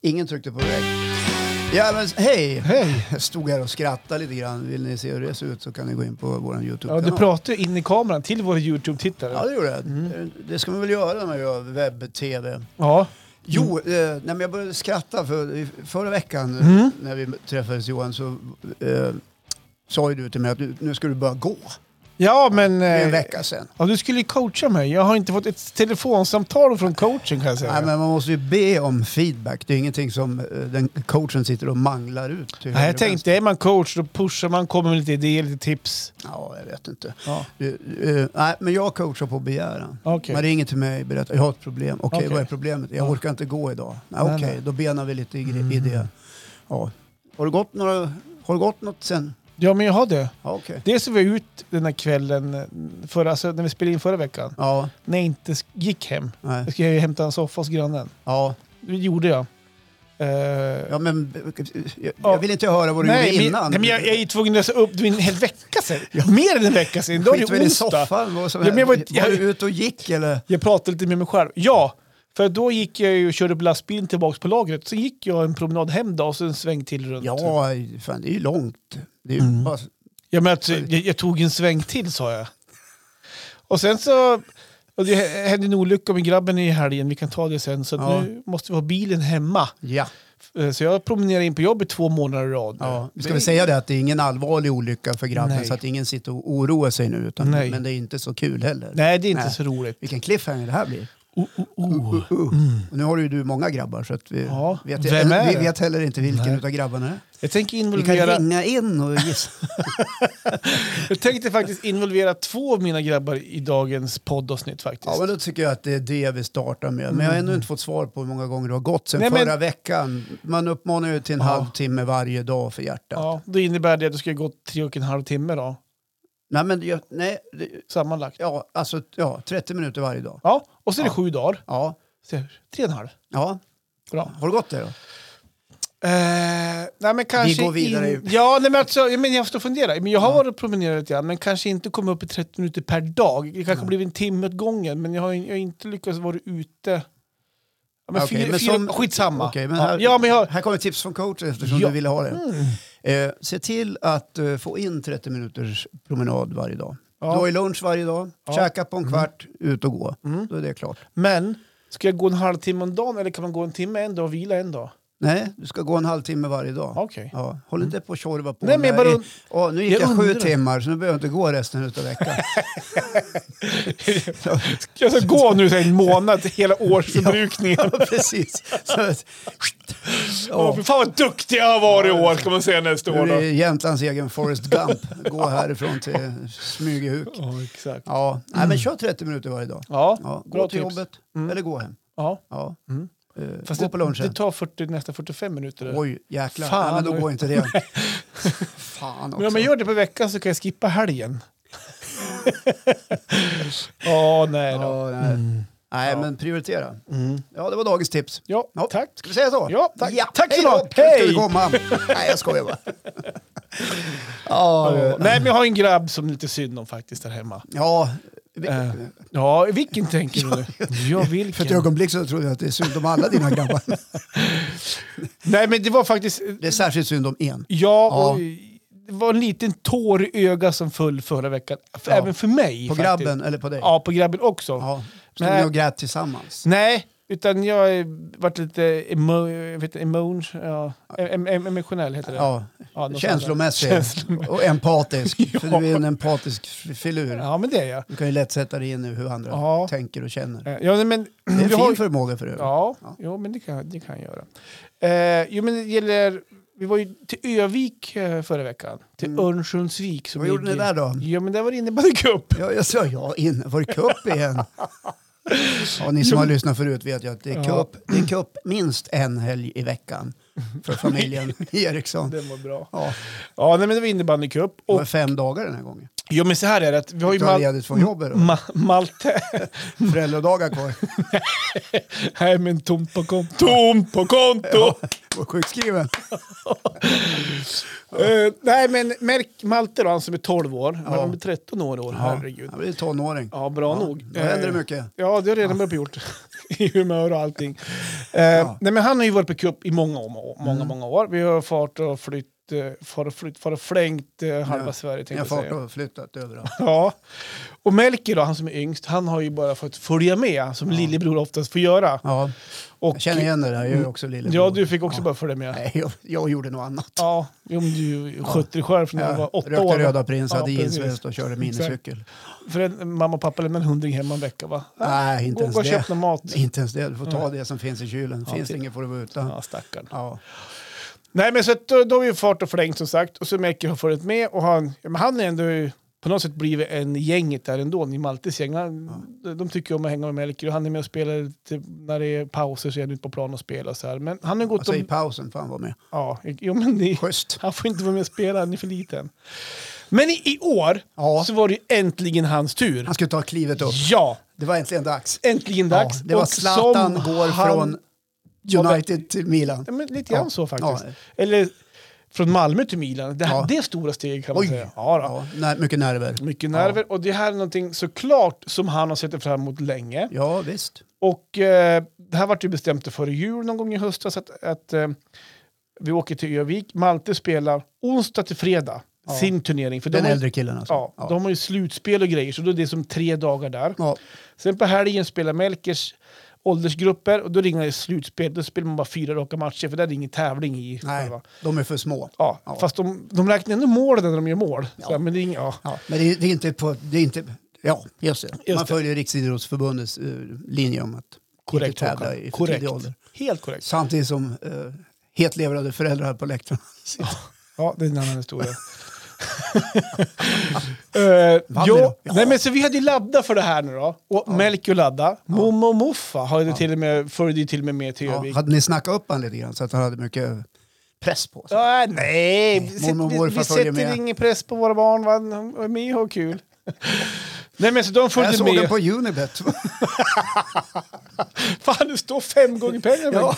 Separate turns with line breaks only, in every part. Ingen tryckte på räck. Ja, men hej! Hej! Jag stod här och skrattade lite grann. Vill ni se hur det ser ut så kan ni gå in på vår
Ja,
Youtube-kanal.
du pratar ju in i kameran till våra YouTube-tittare.
Ja,
Ja.
det gjorde jag.
Mm.
Det ska man väl göra när man gör webb-tv. Jo, eh, nej, men jag började skratta för i förra veckan eh,
Mm.
när vi träffades Johan så eh, sa ju du till mig att du, nu ska du börja gå.
Ja, men...
Det är en
Eh,
vecka sedan.
ja, du skulle ju coacha mig. Jag har inte fått ett telefonsamtal från coachen kan jag säga.
Nej, men man måste ju be om feedback. Det är ingenting som eh, den coachen sitter och manglar ut. till
Nej,
höger
jag
och vänster.
tänkte, är man coach då pushar man, kommer med lite idéer, lite tips.
Ja, jag vet inte.
Ja.
Eh, eh, nej, men jag coachar på begäran.
Okej.
Man ringer till mig och berättar jag har ett problem. Okej,
Okej.
vad är problemet? Jag
Ja.
orkar inte gå idag. Nej,
Nej,
Okej,
nej. Mm.
då benar vi lite i, gre- i det. Ja. Har, det gått några, har det gått något sen?
Ja, men jag har det.
Ja, okej.
Dels så var jag ut den här kvällen, eh, förra, alltså, när vi spelade in förra veckan,
Ja,
när jag inte sk- gick hem.
nej.
Jag skulle ju hämta en soffa hos grannen.
Ja.
Det gjorde jag. Eh,
ja, men jag,
Ja.
jag vill inte höra vad du
nej,
gjorde
men-
innan.
Nej, men jag, jag är ju tvungen att läsa upp, det var en hel vecka sedan. Mer än en vecka sedan. Idag är
Skit
det
väl i
onsdag.
soffan. Vad som
Ja, men jag var-
hände. var
jag-
du ute och gick eller?
Jag pratade lite med mig själv. Ja, för då gick jag ju och körde upp lastbilen tillbaka på lagret. Sen gick jag en promenad hem då och sen en sväng till runt.
Ja, fan, det är ju långt. Det är ju
Mm.
bara,
Ja, men att, jag, jag tog en sväng till sa jag. Och sen så... Och det hände en olycka med grabben i helgen, vi kan ta det sen. Så att
Ja.
nu måste vi ha bilen hemma.
ja.
Eh, Så jag promenerar in på jobbet två månader i rad. nu.
Ja, vi Eh, ska väl säga det att det är ingen allvarlig olycka för grabben
Nej.
så att ingen sitter och oroar sig nu. Utan,
Nej.
men det är inte så kul heller.
Nej, det är inte
Nej.
så roligt.
Vilken cliffhanger det här blir.
Oh, oh, oh.
Uh, uh. Och nu har ju du många grabbar så att vi,
Ja,
vet,
vem är
vi
det?
vet heller inte vilken
Nej.
utav grabbarna det är.
Jag tänker
Vi kan
involvera...
ringa in och gissa.
Jag tänkte faktiskt involvera två av mina grabbar i dagens poddavsnitt faktiskt.
ja, men då tycker jag att det är det vi startar med. Men jag har ännu inte fått svar på hur många gånger det har gått sen
Mm. Nej, men-
förra veckan. Man uppmanar ju till en
Ja.
halvtimme varje dag för hjärtat.
Ja, då innebär det att det ska gå tre och en halv timme då,
Nej, men jag, nej, det-
sammanlagt.
ja, alltså, ja, 30 minuter varje dag.
Ja, och så är det
Ja.
sju dagar.
Ja,
Så, tre och en halv.
ja.
Bra.
Har det gått det då?
Eh, nej, men kanske
går vidare
In... Ja, nej, men alltså, jag, men jag står och funderar. Men jag har varit och promenerat lite grann, men kanske inte kommit upp i 30 minuter per dag. Det kanske blivit en timme åt gången, men jag har, jag har inte lyckats vara ute. Ja, men
Okej,
fyra,
men
fyra,
som-
skitsamma.
Okej, men
Ja,
här,
ja, men jag...
här kommer tips från coachen eftersom
Ja. Mm.
du ville ha det. Eh, se till att eh, få in 30 minuters promenad varje dag.
Ja.
Du har ju lunch varje dag,
Ja. Mm.
käka på en kvart, ut och gå. Då är det klart.
Men ska jag gå en halvtimme om dagen eller kan man gå en timme en dag och vila en dag?
Nej, du ska gå en halvtimme varje dag.
Okej. Mm.
Ja, håll inte på och tjorva på.
Nej, men jag
där
bara
i-
und-
Ja, nu gick jag,
jag
sju
undrar.
timmar så nu behöver jag inte gå resten av veckan.
Jag ska gå nu så här en månad till hela årsförbrukningen.
ja, precis. Så, att-
Åh,
ja.
fy fan vad duktig jag har varit i år kan man säga nästa
Nu är
år. Då.
det Jämtlands egen Forrest Gump. Gå härifrån till Smygehuk.
Ja, exakt.
Ja, Nej, men kör 30 minuter varje dag.
Ja,
Ja, gå
bra
till
tips.
jobbet eller gå hem.
Ja.
Ja.
Mm.
Eh,
Fast
gå
det,
på lunchen.
det tar 40, nästan 45 minuter. det.
Oj, jäklar.
Fan,
Nej, men då
oj.
går inte det. Fan också.
Men om jag gör det på veckan så kan jag skippa helgen. Åh nej då. Mm.
ja, nej. nej, men prioritera. Ja, det var dagens tips.
Ja,
Ja.
tack.
Ska vi säga så?
Ja, tack. Tack så
Hej då.
mycket.
Kul ska du
Hej.
komma. Nej, jag skojar bara. ja,
Ja.
det-
Nej, men jag har en grabb som är lite synd om faktiskt där hemma.
ja. vi-
Eh, Ja, vilken tänker du nu?
För
Ja,
ett
vilken?
ögonblick så trodde jag att det är synd om alla dina grabbar.
Nej, men det var faktiskt...
Det är särskilt synd om en.
Ja, och
Ja.
det var en liten tår i ögat som föll förra veckan. F-
Ja.
Även för mig.
På
faktiskt.
grabben eller på dig?
Ja, på grabben också.
ja. Stod
Nej.
ni och grät tillsammans?
Nej, utan jag eh, vart lite emo, jag vet, emotion, ja, em, em, emotionell heter det.
Ja,
Ja, något
känslomässig
Känslomässig.
och empatisk. För
Ja.
du är en empatisk f- filur.
sånt. Ja, men det är jag.
Du kan ju lätt sätta dig in i hur andra
Ja.
tänker och känner.
Eh, Ja, nej, men,
Det är en
vi
fin
har-
förmåga för övrigt.
Ja,
Ja.
Jo, men det kan, det kan jag göra. Eh, jo, men det gäller, vi var ju till Övik eh, förra veckan, till
Mm.
Örnsköldsvik. som
Vad gjorde ni
ligger-
där då?
Ja, men där var det innebandycup.
Ja, jag sa ja, in, var det cup igen? Ja, ni som har lyssnat förut vet ju att det är
Ja.
cup, det är cup minst en helg i veckan för familjen Eriksson.
Den var bra.
Ja,
Ja, nej, men det var innebandycup.
det
Och
var fem dagar den här gången.
Jo men så här är det, att vi har ju
Du har
Mal-
ledigt från jobbet då?
Ma- Malte... Mm.
Föräldradagar kvar.
Nej men tomt på konto. Tomt på konto!
sjukskriven.
Eh, nej, men märk Malte då, han som är 12 år. Men
Ja.
han blir 13 år i år, herregud.
Han blir tonåring.
Ja, bra nog.
Då händer det
Eh,
mycket.
Ja, det har redan börjat bli gjort. I humör och allting. Eh, nej, men han har ju varit på cup i många, år- många,
Mm.
många år. Vi har fart och flytt, eh, far och, flytt, far och flängt eh, halva
Ja.
Sverige
Jag har
tänkte jag
fart
säga.
och flyttat överallt.
Ja. Och Melker då, han som är yngst, han har ju bara fått följa med som lillebror oftast får göra.
Ja,
Och,
jag känner igen det där. Jag är ju också lillebror.
Mm. ja, du fick också bara följa med.
Nej, jag, jag gjorde något annat.
Ja, jo, men du skötte dig själv från när du
Jag
var åtta
rökte
år.
Röda Prins,
Ja,
hade
precis.
jeansväst och körde minicykel.
För en, mamma och pappa lämnade en hundring hemma en vecka va?
Nej, inte
Gå,
ens
gå och
det.
köp någon mat.
Inte ens det. Du får ta det som finns i kylen. Finns det inget får du vara utan.
Ja, stackarn.
Ja.
Nej, men så att då, då har vi ju fart och flängt som sagt. Och så Melker har följt med och han, ja, men han är ändå på något sätt blivit en i gänget där ändå, i Maltes gäng. Han, De tycker om att hänga med Melker och han är med och spelar typ, när det är pauser så är han ute på plan och spelar så här. Men han har gått
Alltså i
om...
pausen får han vara med.
Ja, jo, men ni,
Schysst.
han får inte vara med och spela, han är för liten. Men i, i år
Ja.
så var det ju äntligen hans tur.
Han skulle ta klivet upp.
Ja,
Det var äntligen dags.
äntligen dags.
Ja, det var
Och
Zlatan
som
går
han-
från United till Milan.
Ja, men lite grann
Ja.
så faktiskt.
Ja.
Eller från Malmö till Milan. Det,
Ja.
det är stora steg kan man
Oj.
säga. Ja, då.
Ja, nä- mycket nerver.
Mycket nerver. Och det här är någonting såklart som han har sett det fram emot länge.
Ja, visst.
Och eh, det här vart ju bestämt före jul någon gång i höstas att, att eh, vi åker till Övik. Malte spelar onsdag till fredag sin turnering. För
Den
de, har,
äldre killen alltså.
ja, de har ju slutspel och grejer så då är det som tre dagar där.
Ja.
Sen på helgen spelar Melkers åldersgrupper och då ringer det slutspel. Då spelar man bara fyra raka matcher för där är det ingen tävling i.
Nej,
själva.
de är för små.
Ja,
Ja.
fast de, de räknar ändå målen när de gör mål. Så här, men det är inga, ja.
Ja, men det är, det är inte på... Det är inte, ja, just det.
Just
Man
det.
följer Riksidrottsförbundets eh, linje om att
Korrekt.
inte tävla
Håkan.
i för tidig
korrekt.
ålder.
Helt korrekt.
Samtidigt som eh, hetlevrade föräldrar på läktaren.
Ja, det är en annan historia. Eh,
Vann vi
jo,
då? Ja.
nej, men så vi hade ju laddat för det här nu då. Och Melker ladda. Mommo och Moffa har ju till och med, följde ju till och med med till
Ja,
Övik.
hade ni snackat upp honom lite grann så att han hade mycket eh, press på sig?
Ah, nej, vi, sitter-
Mormor och
vi,
morfar
vi
följer
sätter
med.
ingen press på våra barn. Va? De är med och har kul. nej men så de
Jag
följde
såg honom
med.
på Unibet.
Fan, det står fem gånger pengar.
ja,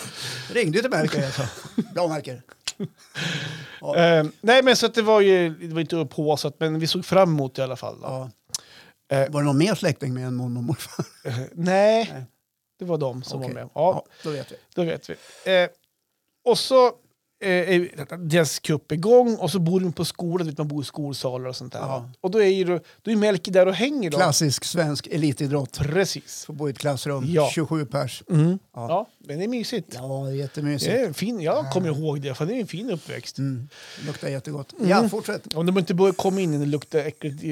ringde till Melker. Jag sa, Bra Melker.
Eh, nej men så att det var ju, det var inte upphaussat men vi såg fram emot det i alla fall. Då.
Ja.
Eh.
Var det någon mer släkting med än mormor och morfar?
Eh, nej.
Nej.
det var de som
Okej.
var med. ja.
Ja, då vet vi.
Då vet vi. Eh, och så eh, är deras cup igång och så bor de på skolan, vet, man bor i skolsalar och sånt där.
Ja.
Och då är ju då, då är Melker där och hänger då.
Klassisk svensk elitidrott.
Precis.
Får bo i ett klassrum,
Ja.
27 pers.
Mm. Ja.
Ja.
men det är mysigt.
Ja, det är
Det
jättemysigt.
är en fin, jag kommer ihåg det, för det är en fin uppväxt.
Mm.
Eh.
Luktar jättegott.
Mm.
Ja, fortsätt.
Om de inte börjar komma in och det luktar äckligt, eh,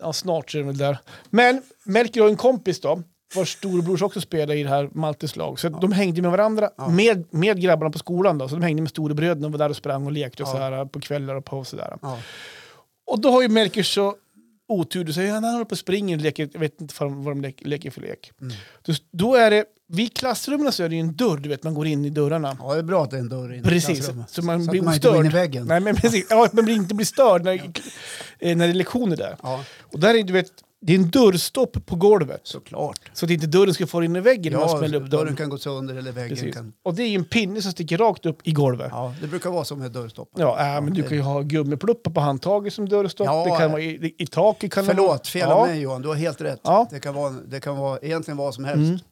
ja, snart så är de väl där. Men Melker har en kompis då, vars storebror också spelar i det här Maltes lag. Så att de hängde med varandra, med, med grabbarna på skolan då. Så de hängde med storebröderna och var där och sprang och lekte och så här, på kvällar och på sådär.
Ja.
Och då har ju Melker så otur, så han håller på och springer och leker, jag vet inte vad de, vad de leker, leker för lek. Då, då är det, vid klassrummen så är det ju en dörr, du vet, man går in i dörrarna.
ja, det är bra att det är en dörr in i
Precis,
klassrummet.
så man
så
blir
att man inte går in i
ostörd.
väggen.
Nej, men precis. Ja, man blir inte blir störd när, eh, när det är lektioner där.
Ja,
Och där är du vet, det är en dörrstopp på golvet.
såklart.
Så att inte dörren ska fara in i väggen när man
Ja,
smäller upp
dörren
dörren.
kan gå sönder eller väggen
Precis.
kan...
Och det är ju en pinne som sticker rakt upp i golvet. Ja,
Ja, det brukar vara som med dörrstoppar.
äh, men du
det-
kan ju ha gummipluppar på handtaget som dörrstopp.
Ja,
det kan
äh.
vara i, i taket. Kan det vara.
Förlåt, fel av
ja.
mig Johan. Du har helt rätt.
Ja. Mm.
Det, kan vara, det kan vara egentligen vad som helst.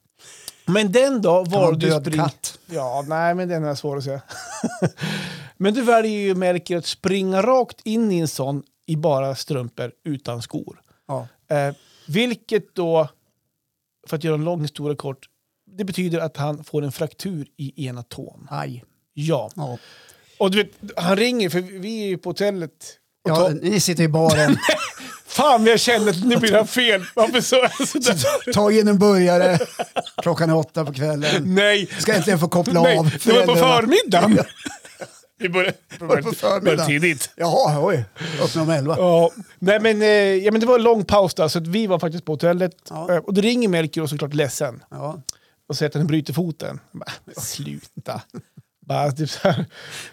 Men den då
vara
var
en
du
död
spring...
katt.
Ja, nej, men den är svår att säga. men du väljer ju, Melker, att springa rakt in i en sån i bara strumpor utan skor.
Ja.
Eh, vilket då, för att göra en lång historia kort, det betyder att han får en fraktur i ena tån.
Aj.
Ja.
Ja.
Och du vet, han ringer, för vi är ju på hotellet. Och
Ja,
tar-
ni sitter i baren,
Fan, jag känner att nu blir det här fel. Varför så jag sådär?
tar in en burgare, klockan är åtta på kvällen.
Nej.
Ska äntligen få koppla
Nej,
av.
det var på
Föräldrarna-
förmiddagen. Vi började,
var på förmiddagen.
började tidigt.
Jaha, oj. Öppna om elva.
Ja, nej men, eh, ja, men det var en lång paus där, så att vi var faktiskt på hotellet.
Ja.
Eh, Och då ringer Melker och såklart ledsen.
Ja.
och säger att han bryter foten. Jag Bara, men sluta. Bara, typ så här.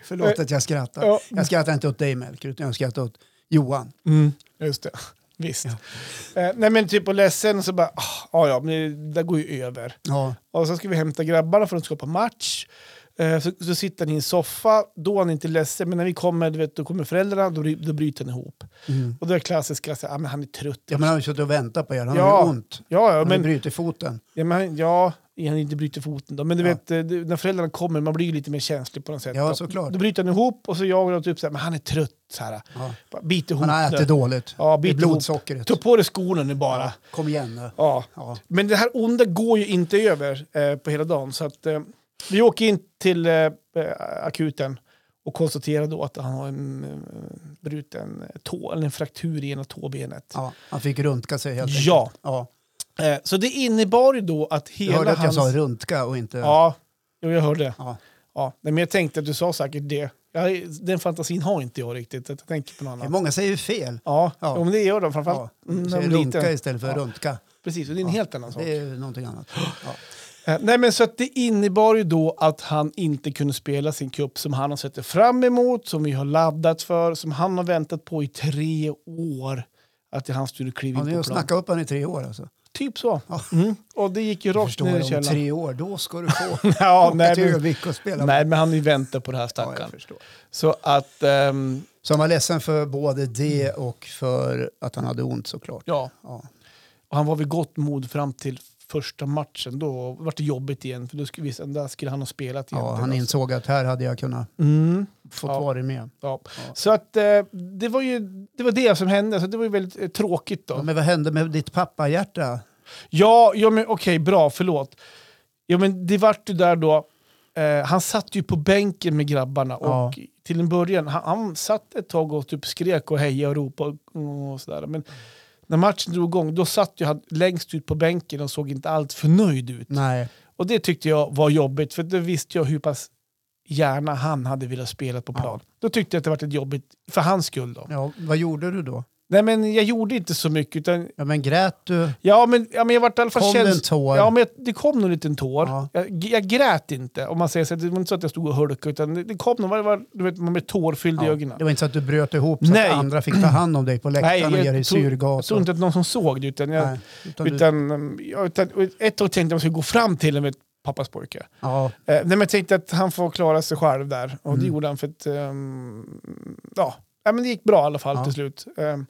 Förlåt att jag skrattar.
Eh, Ja.
Jag skrattar inte åt dig Melker, utan jag skrattar åt Johan.
Mm, Just det. Visst. Eh, nej men typ och ledsen så bara, ah, ja ja, men det där går ju över.
Ja.
Och sen ska vi hämta grabbarna för att de ska på match. Eh, Så, så sitter han i en soffa, då är han inte ledsen, men när vi kommer, du vet, då kommer föräldrarna, då, bry- då bryter han ihop.
Mm.
Och då är det klassiska, så, här, ah, men han är trött.
Ja, men han har ju suttit och väntat på er. Han
Ja.
har ju ont.
ja, ja,
Han men...
men,
bryter foten.
ja, men, han- ja, han inte bryter foten då. Men du
Ja.
vet, eh, du- när föräldrarna kommer, man blir ju lite mer känslig på något sätt.
Ja,
då.
såklart.
Då bryter han ihop och så jagar de typ så här, men han är trött. Så här,
Ja.
Bara bit ihop
Han har
nu.
ätit dåligt.
Ja,
det är
bit ihop.
blodsockret.
Ta på dig skorna nu bara.
Ja, kom igen nu.
Ja.
Ja.
Men det här onda går ju inte över eh, på hela dagen. Så att, eh, vi åker in till eh, eh, akuten och konstaterar då att han har en eh, bruten tå, eller en fraktur i ena tåbenet.
Ja. Han fick röntga sig helt enkelt.
Ja,
Ja.
eh, så det innebar ju då att
Du
hela
hörde att jag
hans...
sa röntga och inte...
Ja, jo, jag hörde.
Ja.
Ja. Nej, Men jag tänkte att du sa säkert det. Jag, den fantasin har inte jag riktigt, att jag tänker på något annat.
Många säger ju fel.
Ja,
Ja.
Jo, men det gör de framförallt.
Ja.
mm, när
Säger
de är liten.
runka istället för
Ja.
röntga.
Precis, och det är en
Ja.
helt annan sak.
Det är ju någonting annat. Ja.
Eh, Nej, men så att det innebar ju då att han inte kunde spela sin cup som han har sett det fram emot, som vi har laddat för, som han har väntat på i tre år. Att han skulle
Ja,
kliva in
ni
på
har
plan.
snackat upp honom i tre år alltså.
Typ så.
Ja.
Mm. Och det gick ju rakt
Förstår
ner i
du, om
källaren.
tre år, då ska du få
Ja,
åka
nej,
till
men,
Örnsköldsvik och spela.
nej, men han har ju väntat på det här
ja,
stackaren.
jag förstår.
så att, ehm,
Så han var ledsen för både det och för att han hade ont såklart.
Mm. ja.
Ja.
Och han var vid gott mod fram till första matchen. Då var det jobbigt igen, för då skulle, vi- där skulle han ha spelat
Ja,
egentligen.
han
alltså.
insåg att här hade jag kunnat
mm.
fått
Ja.
vara med.
Ja.
Ja.
Så att eh, det var ju det, var det som hände, så det var ju väldigt eh, tråkigt då.
Ja,
Ja,
men vad hände med ditt pappahjärta?
ja, men okej, bra, förlåt. Ja, men det vart ju där då, eh, han satt ju på bänken med grabbarna
Ja.
och till en början, han, han satt ett tag och typ skrek och hejade och ropade och, och sådär. Men när matchen drog igång, då satt ju han längst ut på bänken och såg inte allt för nöjd ut.
Nej,
Och det tyckte jag var jobbigt, för då visste jag hur pass gärna han hade velat spela på plan. Då tyckte jag att det var ett jobbigt, för hans skull då.
ja, vad gjorde du då?
Nej, men jag gjorde inte så mycket. Utan,
Ja, men grät du?
ja, men, ja, men jag vart i alla fall
Kom det en
käns-
tår?
Ja, men jag, det kom nog en liten tår.
Ja.
Jag, jag grät inte, om man säger så. Det var inte så att jag stod och hulkade, utan det, det kom nog, det var, du vet, man blev tårfylld i
Ja,
ögonen.
det var inte så att du bröt ihop så
Nej.
att andra fick ta hand om dig på läktaren och ge dig
tror- jag
syrgas?
tror inte att någon som såg det, utan, jag,
Nej, utan du,
utan, mm, ja, utan och ett tag tänkte jag att jag skulle gå fram till en vet, pappas pojke. Eh,
ja,
nej, men jag tänkte att han får klara sig själv där, och det
Mm.
gjorde han för att, ehm, ja, ja, men det gick bra i alla fall
Ja.
till slut. Ehm,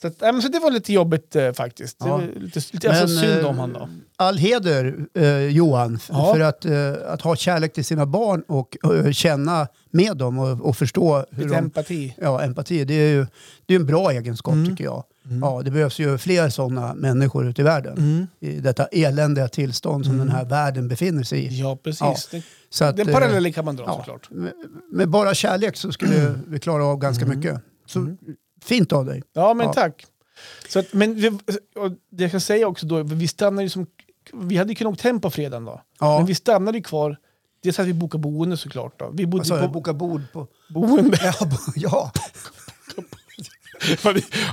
så, att, ja, men så det var lite jobbigt eh, faktiskt. Det
Ja.
var lite, lite alltså,
Men,
synd
eh,
om han då.
All heder eh, Johan, f-
Ja.
för att, eh, att ha kärlek till sina barn och eh, känna med dem och, och förstå hur
Lite
de...
empati.
Ja, empati, det är ju det är en bra egenskap
Mm.
tycker jag. Ja, det behövs ju fler sådana människor ute i världen.
Mm.
I detta eländiga tillstånd som den här världen befinner sig i.
Ja, precis. Den-
Så att,
Den
eh,
parallellen kan man dra
ja.
såklart.
med, med bara kärlek så skulle vi klara av ganska
Mm.
mycket. Så fint av dig.
Ja, men
Ja.
tack. Så att, men vi, och det jag kan säga också då, vi stannade ju som... Vi hade ju kunnat åkt hem på fredagen då,
Ja.
men vi stannade ju kvar. Dels att vi bokade boende såklart då. Vi bodde
Vad sa
ju
Alltså, jag?
på
Boka bord på...
boende.
Ja, bo- ja.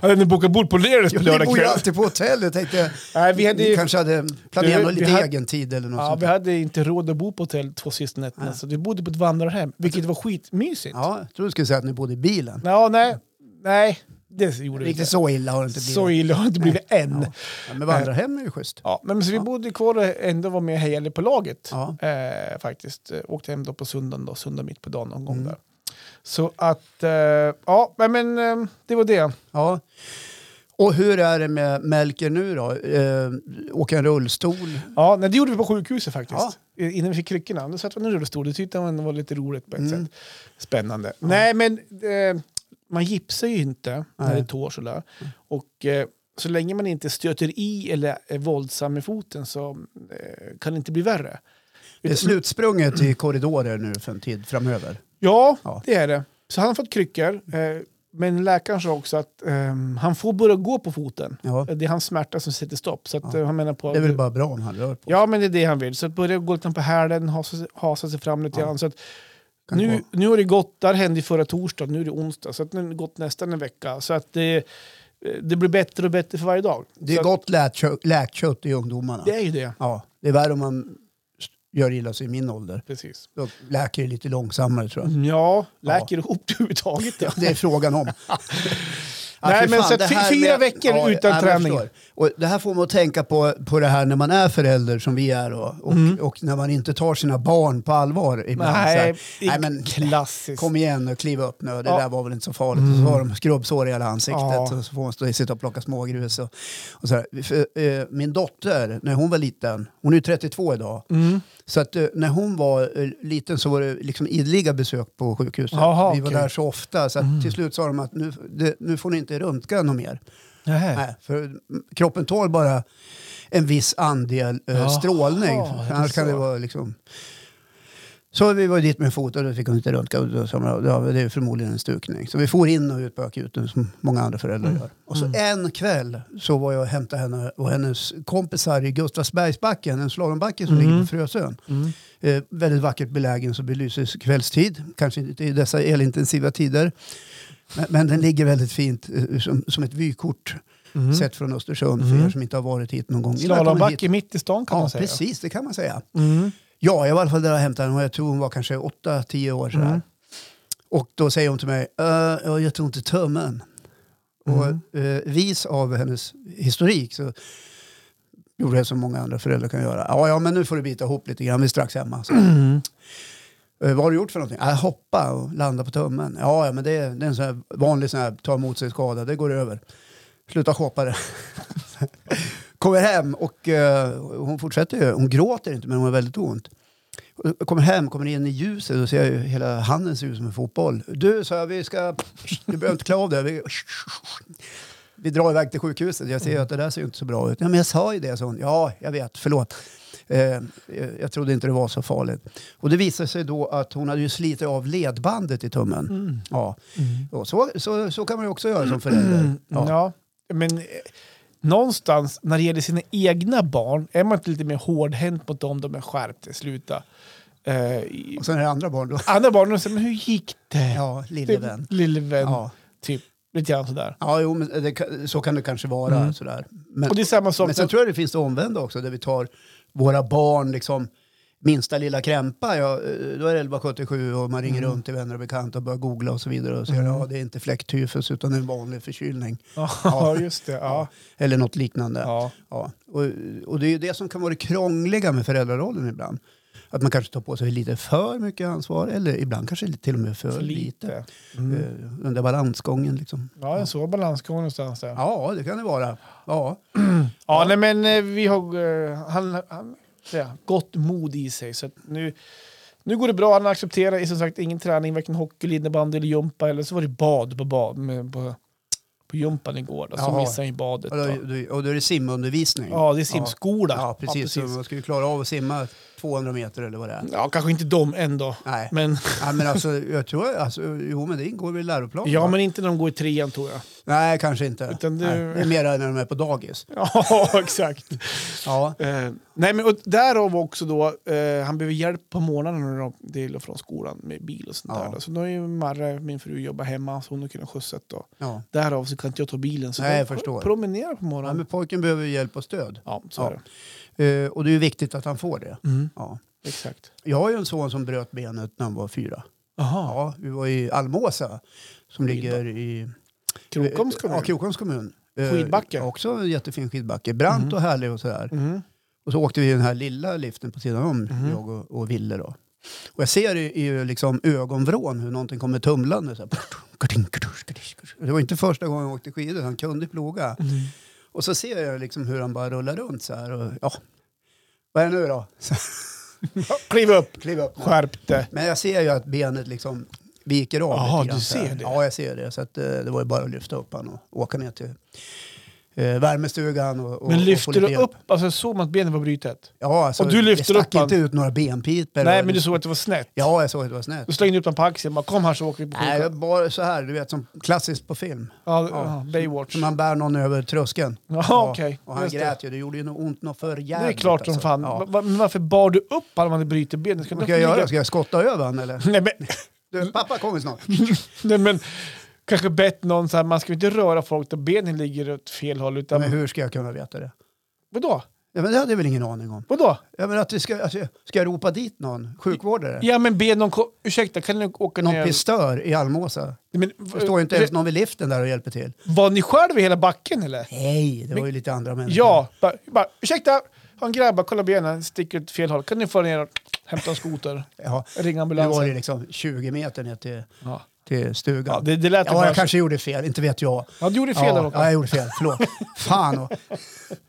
hade ni bokat bord på Leris på
Jag vi
lördag
bor ju
kväll?
alltid på hotell. Jag tänkte,
Nej, vi hade
ni
ju...
kanske hade planerat
Du, vi
lite
hade-
egen tid eller något
Ja,
sånt.
vi hade inte råd att bo på hotell två sista nätterna,
Nej. Alltså-
så vi bodde på ett vandrarhem, vilket var skitmysigt. Ja,
Ja, jag trodde du skulle säga att ni bodde i bilen.
nej, nej, det gjorde vi inte.
Riktigt så illa har det inte blivit.
Så illa har det inte blivit än.
Ja, men vandrarhem är ju schysst.
Ja, men så vi bodde kvar och ändå var med och hejade på laget.
Ja.
Eh, faktiskt. Eh, Åkte hem då på söndagen, då, söndag mitt på dagen någon gång
Mm.
där. Så att, eh, ja, nej, men eh, det var det.
Ja. Och hur är det med Melker nu då? Eh, åker en rullstol?
Ja, nej, det gjorde vi på sjukhuset faktiskt.
Ja.
I- Innan vi fick kryckorna. Då satt man i rullstol, det tyckte man var lite roligt på ett
Mm.
sätt. Spännande. Nej, men eh, man gipsar ju inte när det
Nej. Mm.
är tår sådär. Och eh, så länge man inte stöter i eller är våldsam med foten så eh, kan det inte bli värre.
Det är slutsprunget i korridorer nu för en tid framöver.
Ja,
Ja.
det är det. Så han har fått kryckor. Eh, men läkaren sa också att ehm, han får börja gå på foten.
Ja.
Det är hans smärta som sätter stopp. Så att,
Ja.
eh, han menar på
Det är väl bara bra om han rör på
Ja, men det är det han vill. Så att börja gå lite på hälen, hasa, hasa sig fram lite
Ja.
grann. Så att
Kan
nu,
gå.
nu har det gått, där hände ju förra torsdagen, nu är det onsdag. Så att nu har det gått nästan en vecka. Så att det, det blir bättre och bättre för varje dag.
Det
så
är
att-
gott läkkö- läkkött i ungdomarna.
Det är ju det.
Ja, det är värre om man s- gör illa sig i min ålder.
Precis.
Då läker det lite långsammare tror jag.
Ja, läker ihop det överhuvudtaget.
Det är frågan om. Ah,
Nej,
fy
men så att
det här
fy- fyra veckor utan
men jag
träning.
förstår. Och det här får mig att tänka på, på det här när man är förälder som vi är och, och, och när man inte tar sina barn på allvar ibland. så här,
Mm. Nej,
nej men
klassiskt.
kom igen och kliva upp nu, det
Ja.
där var väl inte så farligt. Och så har de skrubbsår i hela ansiktet
Ja.
och så får man stå, sitta och plocka smågrus. Och, och så här. För, eh, min dotter, när hon var liten, hon är ju 32 idag, så att eh, när hon var eh, liten så var det liksom ideliga besök på sjukhuset.
Jaha,
vi var
okej.
där så ofta så att till slut sa de att nu, det, nu får ni inte röntga något mer. Nej, för mm, kroppen tål bara en viss andel eh,
Jaha,
strålning.
är det
Annars kan det
så?
vara liksom... Så vi var dit med fot och då fick hon inte röntga. Och då sa man, ja, det är förmodligen en stukning. Så vi for in och ut på akuten som många andra föräldrar
Mm.
gör. Och så en kväll så var jag och hämtade henne och hennes kompisar i Gustavsbergsbacken, en slalombacke som ligger
Mm.
på Frösön. Eh, väldigt vackert belägen så belyses kvällstid. Kanske inte i dessa elintensiva tider. Men, men den ligger väldigt fint eh, som, som ett vykort sett från Östersund för er som inte har varit hit någon gång.
Slalombacke mitt Mm. i stan Mm. kan
Ja,
man säga.
precis, det kan man säga.
Mm.
Ja, jag var i alla fall där och hämtade henne och jag tror hon var kanske 8-10 år sådär.
Mm.
Och då säger hon till mig, "Eh, jag har jätteont i tömmen.
Mm.
Och eh, vis av hennes historik så gjorde jag som många andra föräldrar kan göra. Ja, ja men nu får du bita ihop lite grann, vi är strax hemma. Så. "Eh, vad har du gjort för någonting? Jag hoppa och landa på tummen. Ja, ja men det är, det är en sån här vanlig sån här, ta emot sig skada, det går över. Sluta shoppa det. Kommer hem och eh, hon fortsätter ju, hon gråter inte men hon har väldigt ont. Jag kommer hem, kommer in i ljuset och ser jag ju hela handen ser ut som en fotboll. Du, sa jag, vi ska... Du behöver inte klä av dig. Vi, vi drar iväg till sjukhuset. Jag ser ju att det där ser ju inte så bra ut. Ja, men jag sa ju det, sa hon. Ja, jag vet, förlåt. Eh, eh, jag trodde inte det var så farligt. Och det visade sig då att hon hade ju slitit av ledbandet i tummen. Ja. Och så, så, så kan man ju också göra som förälder.
Mm. Ja.
Ja.
men eh, någonstans när det gäller sina egna barn är man inte lite mer hårdhänt mot dem. De är skärpta, sluta. Eh, i-
Och sen är det andra barn då.
andra barn de säger, men hur gick det?
Ja, lille
Det-
vän.
Lille vän,
Ja,
typ. Lite grann sådär.
ja jo, men det, kan- så kan det kanske vara.
Mm.
Sådär. Men,
Och det är samma sak.
Men sen tror jag det finns det omvända också, där vi tar våra barn, liksom, minsta lilla krämpa, ja, eh, då är det 1177 och man
Mm.
ringer runt till vänner och bekanta och börjar googla och så vidare och säger ja, det är inte fläcktyfus utan en vanlig förkylning
ja, just det. Ja.
eller något liknande. Ja.
Ja.
Och, och det är ju det som kan vara det krångliga med föräldrarollen ibland. Att man kanske tar på sig lite för mycket ansvar eller ibland kanske till och med för,
För
lite.
lite. Mm.
Eh, Den där balansgången liksom.
Ja, en svår balansgång någonstans där. Ja,
Ja, det kan det vara. Ja.
nej men eh, vi har... eh, Han, han ja, gott mod i sig. Så att nu, nu går det bra. Han accepterar som sagt ingen träning, varken hockey, eller innebandy eller jumpa. Eller så var det bad på, bad, med, på, på jumpan igår. Då, så
Jaha.
missade han ju badet.
Och,
Då.
då, och då är det simundervisning.
Ja, det är simskola.
Ja, precis. Så man skulle klara av att simma 200 meter eller vad det är.
Ja, kanske inte dem ändå.
Nej. Men,
Men,
ja, men alltså, jag tror, alltså, jo men det ingår väl i läroplanen?
ja,
va?
men inte när de går i trean tror jag.
Nej, kanske inte.
Utan det-
Nej, det är mera när de är på dagis.
Ja, exakt.
Ja,
Eh, nej, men och därav också då, eh, han behöver hjälp på morgonen när de till och från skolan med bil och sånt
Ja.
där. Då. Så då är ju Marre, min fru, jobbar hemma så hon har kunnat skjutsa. Då.
ja.
Därav så kan inte jag ta bilen så
Nej,
då
jag förstår.
promenera på
ja
morgonen.
men pojken behöver ju hjälp och stöd.
Ja, så
Ja.
är det.
Eh, och det är ju viktigt att han får det.
Mm,
Ja.
exakt.
Jag har ju en son som bröt benet när han var fyra.
Aha.
Ja, vi var i Almåsa som ligger i
Krokoms kommun.
Ja, Krokoms kommun. Eh,
Skidbacke. Mhm.
Också en jättefin skidbacke. Brant och härlig och sådär.
Mm.
Och så åkte vi i den här lilla liften på sidan om,
Mhm.
jag och, och Ville då. Och jag ser i, i liksom ögonvrån hur någonting kommer tumlande. Så här, karting, karting, karting, karting. det var inte första gången jag åkte skidor, han kunde ploga. Och så ser jag liksom hur han bara rullar runt så här. Och, ja. Vad är det nu då? Så,
Kliv upp,
kliv upp nu.
skärp dig.
Men jag ser ju att benet liksom viker av.
Jaha,
lite grann
du
så här.
ser det?
Ja, jag ser det. Så att, eh, det var ju bara att lyfta upp honom och åka ner till eh, värmestugan. Och, och,
Men lyfter
och få lite
du
hjälp.
upp, alltså såg man att benet var brutet?
Ja, alltså,
Och du lyfter
det
upp
stack
han?
inte ut några benpipor.
Nej,
Och-
men du såg att det var snett?
Ja, jag såg att det var snett.
Du slängde upp den på axeln bara kom här så åker vi på
Nej,
sjukan.
jag bara så här, du vet som klassiskt på film.
Ja, ja. Baywatch.
Som man bär någon över tröskeln.
Ja, okej.
Och han
Just det.
grät ju, det gjorde ju nog ont något för
Det
jävligt.
är klart som
alltså.
fan. Va-
Ja.
va- Men varför bar du upp alla man bryter benet? Ska,
Vad
inte
ska jag
ligga-
göra? Ska jag skotta över honom eller?
Nej men,
Du, pappa kommer snart.
nej men, kanske bett någon så här, man ska ju inte röra folk där benen ligger åt fel håll. Utan,
Men hur ska jag kunna veta det?
Vadå?
Ja, men det hade jag väl ingen aning om.
Vadå?
Ja, men att vi ska, att jag, ska jag ropa dit någon sjukvårdare?
Ja men be någon... ko- Ursäkta, kan ni åka
Någon
ner?
pistör i Almåsa?
Men,
Det står ju inte ens någon vid liften där och hjälper till.
Var ni själv i hela backen
Mm.
eller?
Nej, det var ju lite andra människor.
Ja, bara, bara ursäkta, har en grabb, bara kolla benen, sticker åt fel håll. Kan ni få ner och hämta en skoter?
ja.
Ringa
Nu var
ambulansen.
det liksom 20 meter ner till,
Ja.
till stugan.
Ja, det, det lät
Ja,
bara
jag
så.
kanske gjorde fel, inte vet jag.
Ja, du gjorde fel där
ja, ja,
Håkan.
jag gjorde fel. Förlåt. Fan. Och...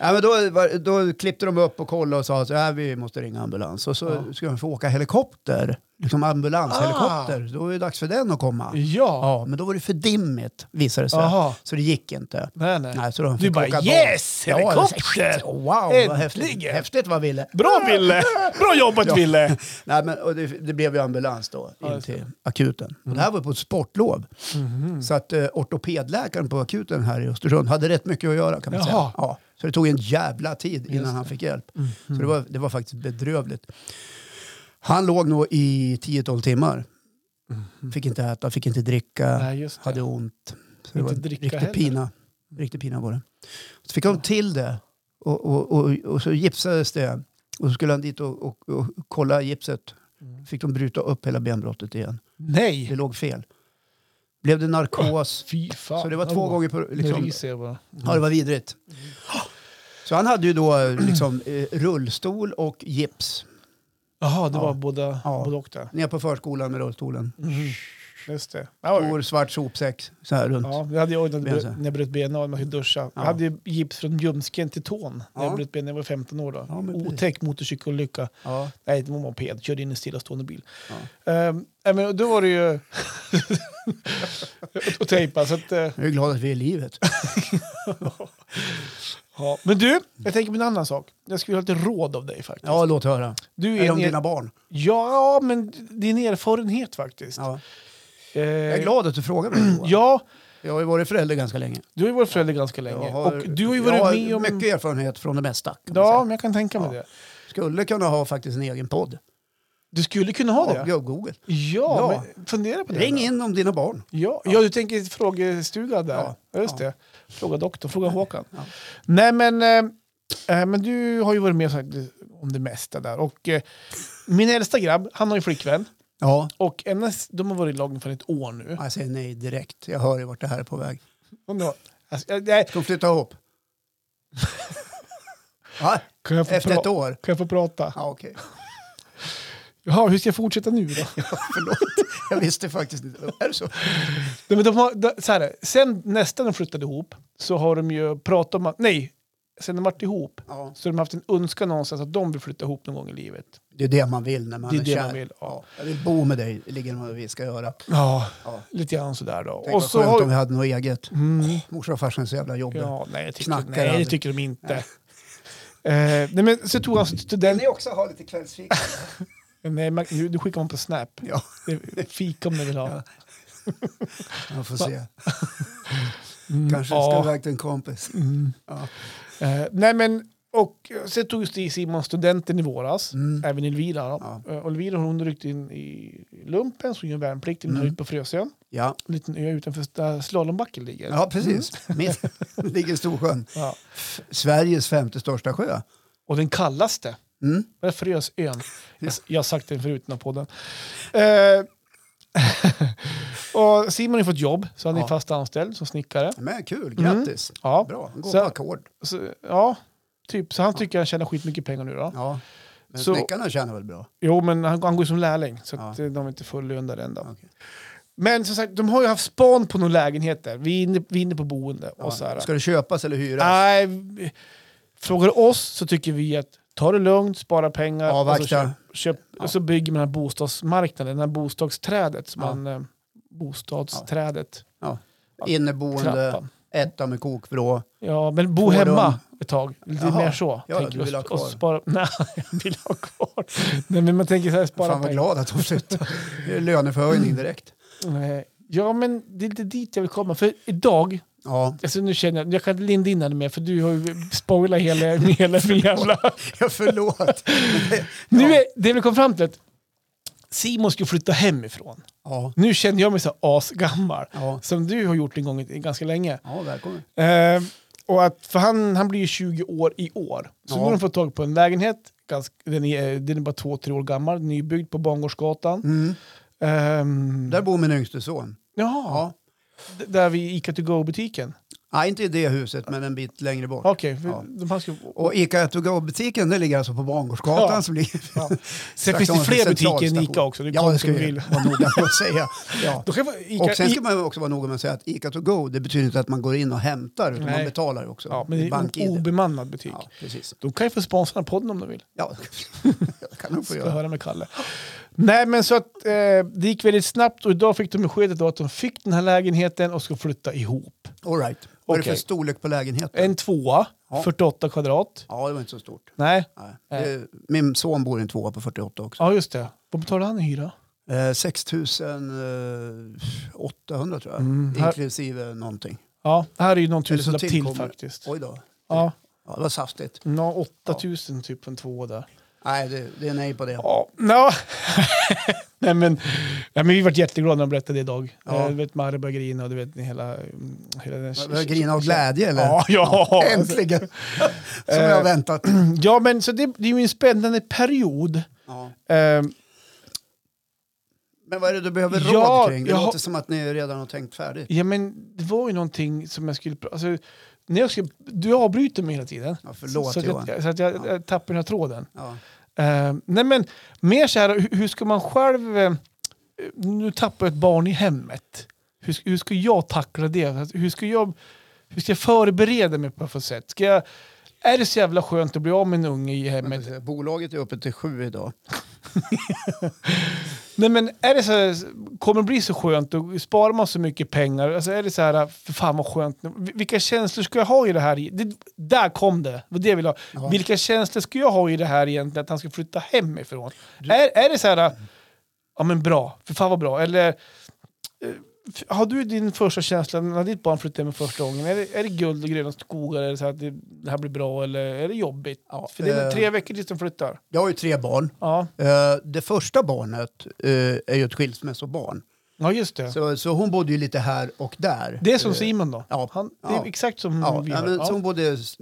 Ja, men då, var- då klippte de upp och kollade och sa att äh, vi måste ringa ambulans. Och så ska de få åka helikopter. Liksom ambulanshelikopter. Då är det dags för den att komma. Ja.
Ah. Ja.
men då var det för dimmigt visade det sig.
Aha.
Så det gick inte.
Nej, nej.
Nej, så de
Du
fick
bara
åka dem.
yes,
Ja, jag sa,
helikopter!
"Shit, Wow, vad häftigt.
Äntligen!"
Häftigt vad Ville.
Bra Ville! Bra jobbat Ville!
Nej, men, och det, det blev ju ambulans då in
just det. Mhm.
till akuten. Och det här var på ett sportlov. Så att eh, ortopedläkaren på akuten här i Östersund hade rätt mycket att göra kan man
Jaha.
säga.
Mhm.
Ja, så det tog en jävla tid innan han fick hjälp. Så det var, det var faktiskt bedrövligt. Han låg nog i 10-12 timmar. Fick inte äta, fick inte dricka,
Mhm. Nej, just det.
hade ont. Så det
Inte
var
dricka
riktig
heller.
pina. Riktig pina var det. Så fick de till det och, och, och, och så gipsades det. Och så skulle han dit och, och, och kolla gipset.
Mm.
Fick de bryta upp hela benbrottet igen. Det
Nej!
låg fel. Blev det narkos.
Fy fan.
Så det var två gånger på...
Nu
Liksom,
ryser jag bara.
ja, det var vidrigt. Så han hade ju då eh, liksom, eh, rullstol och gips.
Jaha, det
Ja.
var båda, Mm.
Ja. Mm.
både och där.
Ner på förskolan med rullstolen.
Just det. Ja,
Stor svart sopsäck så här runt.
Ja, det hade jag när jag
Benen så
bröt-
här.
när jag bröt benen av, man kunde duscha. Jag hade ju gips från ljumsken till tån när jag
Ja.
bröt benen, jag var 15 år då.
Ja, men precis.
Otäck motorcykelolycka.
Ja.
Nej, det var moped, körde in i en stillastående bil. Ehm, nej, men då var det ju... och tejpa, så att... eh,
Jag är glad att vi är i livet.
ja. Men du, jag tänker på en annan sak. Jag skulle ha lite råd av dig faktiskt.
Ja, låt höra.
Du
Eller
är
om
en,
dina barn.
Ja, men din erfarenhet faktiskt.
Ja.
Eh,
Jag är glad att du frågar mig Johan.
Ja,
Jag har ju varit förälder ganska länge.
du har ju varit förälder ganska länge.
Jag har,
och du har ju
jag
varit
har
med om...
mycket erfarenhet från det mesta. kan man
Ja,
säga.
men jag kan tänka mig
Ja.
det.
Skulle kunna ha faktiskt en egen podd.
Du skulle kunna ha det.
Ja, Google.
Ja,
Ja.
Men fundera på det.
Ring
då.
in om dina barn.
Ja, ja, du tänker frågestuga där. Ja,
Ja.
just
Ja.
det. Fråga doktorn, fråga Håkan.
Ja.
Nej, men, eh, eh, men du har ju varit med och sagt om det mesta där. Och, eh, min äldsta grabb, han har ju flickvän.
Ja.
Och hennes, de har varit i lag ungefär ett år nu.
Jag säger nej direkt. Jag hör ju vart det här är på väg.
Och då, alltså, jag- nej,
Ska de flytta ihop? Va?
kan, jag få
Efter ett
pra-
år?
kan jag få prata?
Ja, okej.
Jaha, hur ska jag fortsätta nu då?
Förlåt. Jag visste faktiskt inte. Är det så?
Nej, men de har, de, så här, sen nästan de flyttade ihop så har de ju pratat om att, nej, sen de varit ihop
Ja.
så har de haft en önskan någonstans att de vill flytta ihop någon gång i livet.
Det är det man vill när man
Det
är,
är det
kär.
man vill, ja.
Jag vill bo med dig, ligger vad vi ska göra.
Ja,
Ja.
lite grann sådär då.
Tänk
och
vad
så
skönt om vi
har...
hade något eget.
Mm,
Morsan och farsan är så jävla jobbiga.
ja, nej, jag tycker,
Knackar
nej, det
aldrig.
tycker de inte. Eh, nej, men så tog han student...
också ha lite kvällsfika?
Nej, man, nu, nu skickar man på Snap.
ja,
Det är Fika om ni vill ha.
man får se.
Mm,
Kanske
ja.
ska iväg till en kompis.
Mm.
Ja.
Eh, nej, men... Och sen tog Stig Simon studenten i våras,
Mm.
även Elvira. Då.
Ja.
Eh, och Elvira hon ryckte in i lumpen, så gjorde värnplikt mm.
Mm.
ut på Frösön.
Ja.
En liten ö utanför där slalombacken ligger.
ja,
Mm.
precis. Mitt ligger Storsjön.
Ja.
F- Sveriges femte största sjö.
Och den kallaste.
Mm.
Där frös ön. Jag, jag har sagt det förut i den här podden. Eh, och Simon har ju fått jobb, så han är
Ja.
fast anställd som snickare.
Men kul, grattis.
Ja,
Bra, gå
Mm. Så-
på ackord.
så, ja typ. Så han tycker han tjänar skitmycket pengar nu då.
Ja. Men
Så-
snickarna tjänar väl bra?
Jo, men han, han går ju som lärling, så att,
Ja.
eh, de har inte full lön där än då.
Okej.
Men som sagt, de har ju haft span på någon lägenhet där. Vi är inne, vi är inne på boende.
Ja.
Och så här,
Ska det köpas eller hyras?
nej, vi- frågar du oss så tycker vi att ta det lugnt, spara pengar. Och så
Avvakta.
köp, köp, och så bygger man den här bostadsmarknaden, det här bostadsträdet. Som
Ja.
man, eh, bostadsträdet.
Ja. Inneboende,
Ah, Trappan.
etta med kokvrå.
Ja, men bo
Två
hemma
rum.
ett tag. Lite
Jaha.
mer så.
Ja,
tänker
du
vi.
vill ha
Och
kvar.
Spara, nej, jag vill ha kvar. Nej, men man tänker så här, spara
Fan vad
pengar.
glad att de flyttar. Det är Löneförhöjning direkt.
Nej. Eh, Ja, men det är lite dit jag vill komma. För idag,
Ja,
alltså nu känner jag, jag kan inte linda in det mer för du har ju spoilat hela, hela min jävla...
jag förlåt.
Nu är, det vi kom fram till att Simon skulle flytta hemifrån.
Ja,
Nu känner jag mig så asgammal.
ja.
Som du har gjort en gång i- ganska länge.
ja välkommen.
Eh, Och att, för han, han blir ju 20 år i år. Så
Ja.
nu har de fått tag på en lägenhet. Ganska, den, är, den är bara två, tre år gammal. Nybyggd på Bangårdsgatan.
Mm.
Ehm,
Där bor min yngste son.
ja,
Ja.
d- där vid Ica to go-butiken.
Nej, inte i det huset, men en bit längre bort.
Okej, för
Ja.
de här ska...
Och Ica to go-butiken den ligger alltså på Bangårdsgatan.
Ja.
Som ligger
Ja. Sen
strax
finns det
ovanför
fler butiker än
centralstation.
Ica också. Det
Ja, det ska
du
vi
vill.
vara noga med att säga. Ja.
Då kan jag få Ica,
Och sen
I-
ska man också vara noga med att säga att Ica to go, det betyder inte att man går in och hämtar, utan
Nej.
man betalar ju också.
ja, men det är en
BankID.
obemannad butik.
Ja, precis.
Då kan jag få sponsra den här podden om de vill.
Ja, det kan man få
Ska
göra.
höra med Kalle. Nej, men så att eh, det gick väldigt snabbt och idag fick de beskedet då att de fick den här lägenheten och ska flytta ihop.
All right. Vad är det
Okej.
för storlek på lägenheten?
En tvåa,
Ja.
48 kvadrat.
Ja, det var inte så stort.
Nej,
Nej.
Nej.
Eh, Min son bor i en tvåa på 48 också.
ja just det. Vad betalar han i hyra?
Eh, 6 800 tror jag,
Mm, här-
inklusive någonting.
Ja, det här är ju någon
Eller så
tusenlapp till
tillkommer.
faktiskt.
Oj då,
Ja,
ja, det var saftigt.
nå, 8000 typ på en tvåa där.
Nej, det, det är nej på det.
Ja, nå. Nej, men, ja, men vi vart jätteglada när de berättade det idag.
Ja.
Eh, Du vet, Marre började grina och du vet hela... mm, hela den...
Jag grina av glädje eller?
Ja, ja. alltså. Eh,
Äntligen! Som jag har väntat.
Ja, men så det, det är ju en spännande period.
Ja.
Ehm,
Men vad är det du behöver
Ja,
råd kring? Det
jag har-
låter som att ni redan har tänkt färdigt.
ja, men det var ju någonting som jag skulle... pr- Alltså, när jag skulle du avbryter mig hela tiden.
Ja, förlåt
så, så
Johan.
att, jag, så att jag, jag tappar den här tråden.
Ja.
Ehm, nej, men mer så här, hur, hur ska man själv... eh, nu tappar jag ett barn i hemmet. Hur, ska- hur ska jag tackla det? Alltså, Hur ska jag, hur ska jag förbereda mig på något sätt? Ska jag, är det så jävla skönt att bli av med en unge i hemmet?
Men, Bolaget är uppe till sju idag.
Nej men är det så här, kommer det bli så skönt och sparar man så mycket pengar? Alltså är det så här, för fan vad skönt. nu. Vilka känslor ska jag ha i det här? Det, där kom det, det var det jag ville ha.
Ja.
Vilka känslor ska jag ha i det här egentligen, att han ska flytta hemifrån? Är, är det så här, ja men bra, för fan vad bra. Eller eh, f- har du din första känsla när ditt barn flyttade hem för första gången? Är det, är det guld och gröna skogar? Är det så här att det, det här blir bra eller är det jobbigt?
Ja,
För det är väl
eh,
tre veckor tills de flyttar?
Jag har ju tre barn.
Ja,
Eh, Det första barnet eh, är ju ett skilsmässobarn.
ja just det.
Så, så hon bodde ju lite här och där.
Det är som
Eh,
Simon då?
ja.
Han, det är
Ja.
exakt som
Ja,
vi
ja,
har.
men,
Ja.
Så hon bodde s-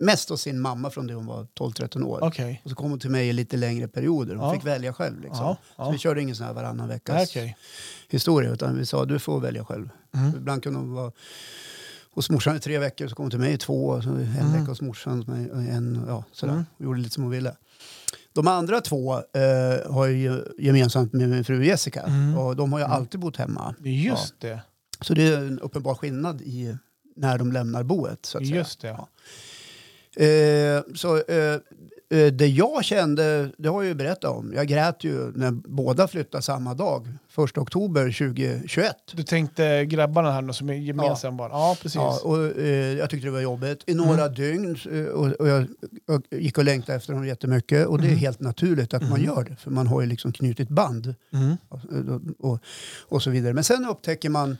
mest hos sin mamma från det hon var 12-13 år.
Okej.
Och så kom hon till mig i lite längre perioder. Hon
Ja.
fick välja själv. Liksom.
Ja, ja.
Så vi körde ingen sån här varannan veckas
Nej, okej.
historia. Utan vi sa du får välja själv.
Mm.
Ibland kunde hon vara hos morsan i tre veckor. Så kom hon till mig i två. och Så en
Mm.
vecka hos morsan. och mig och En, ja, sådär.
Mm.
Hon gjorde lite som hon ville. De andra två eh, har ju gemensamt med min fru Jessica.
Mm.
Och de har ju alltid bott hemma.
Det är Just det.
Så det är en uppenbar skillnad i när de lämnar boet. Så att säga.
Just det.
Ja. Eh, så, eh, eh, det jag kände, det har jag ju berättat om. Jag grät ju när båda flyttade samma dag, 1 oktober 2021.
Du tänkte grabbarna här nu som är gemensamma barn? Ja, precis.
Ja, och, eh, jag tyckte det var jobbigt i några dygn eh, och, och jag, jag gick och längtade efter dem jättemycket. Och det är helt naturligt att man gör det, för man har ju liksom knutit band. eh,
Mm.
och, och, och så vidare. Men sen upptäcker man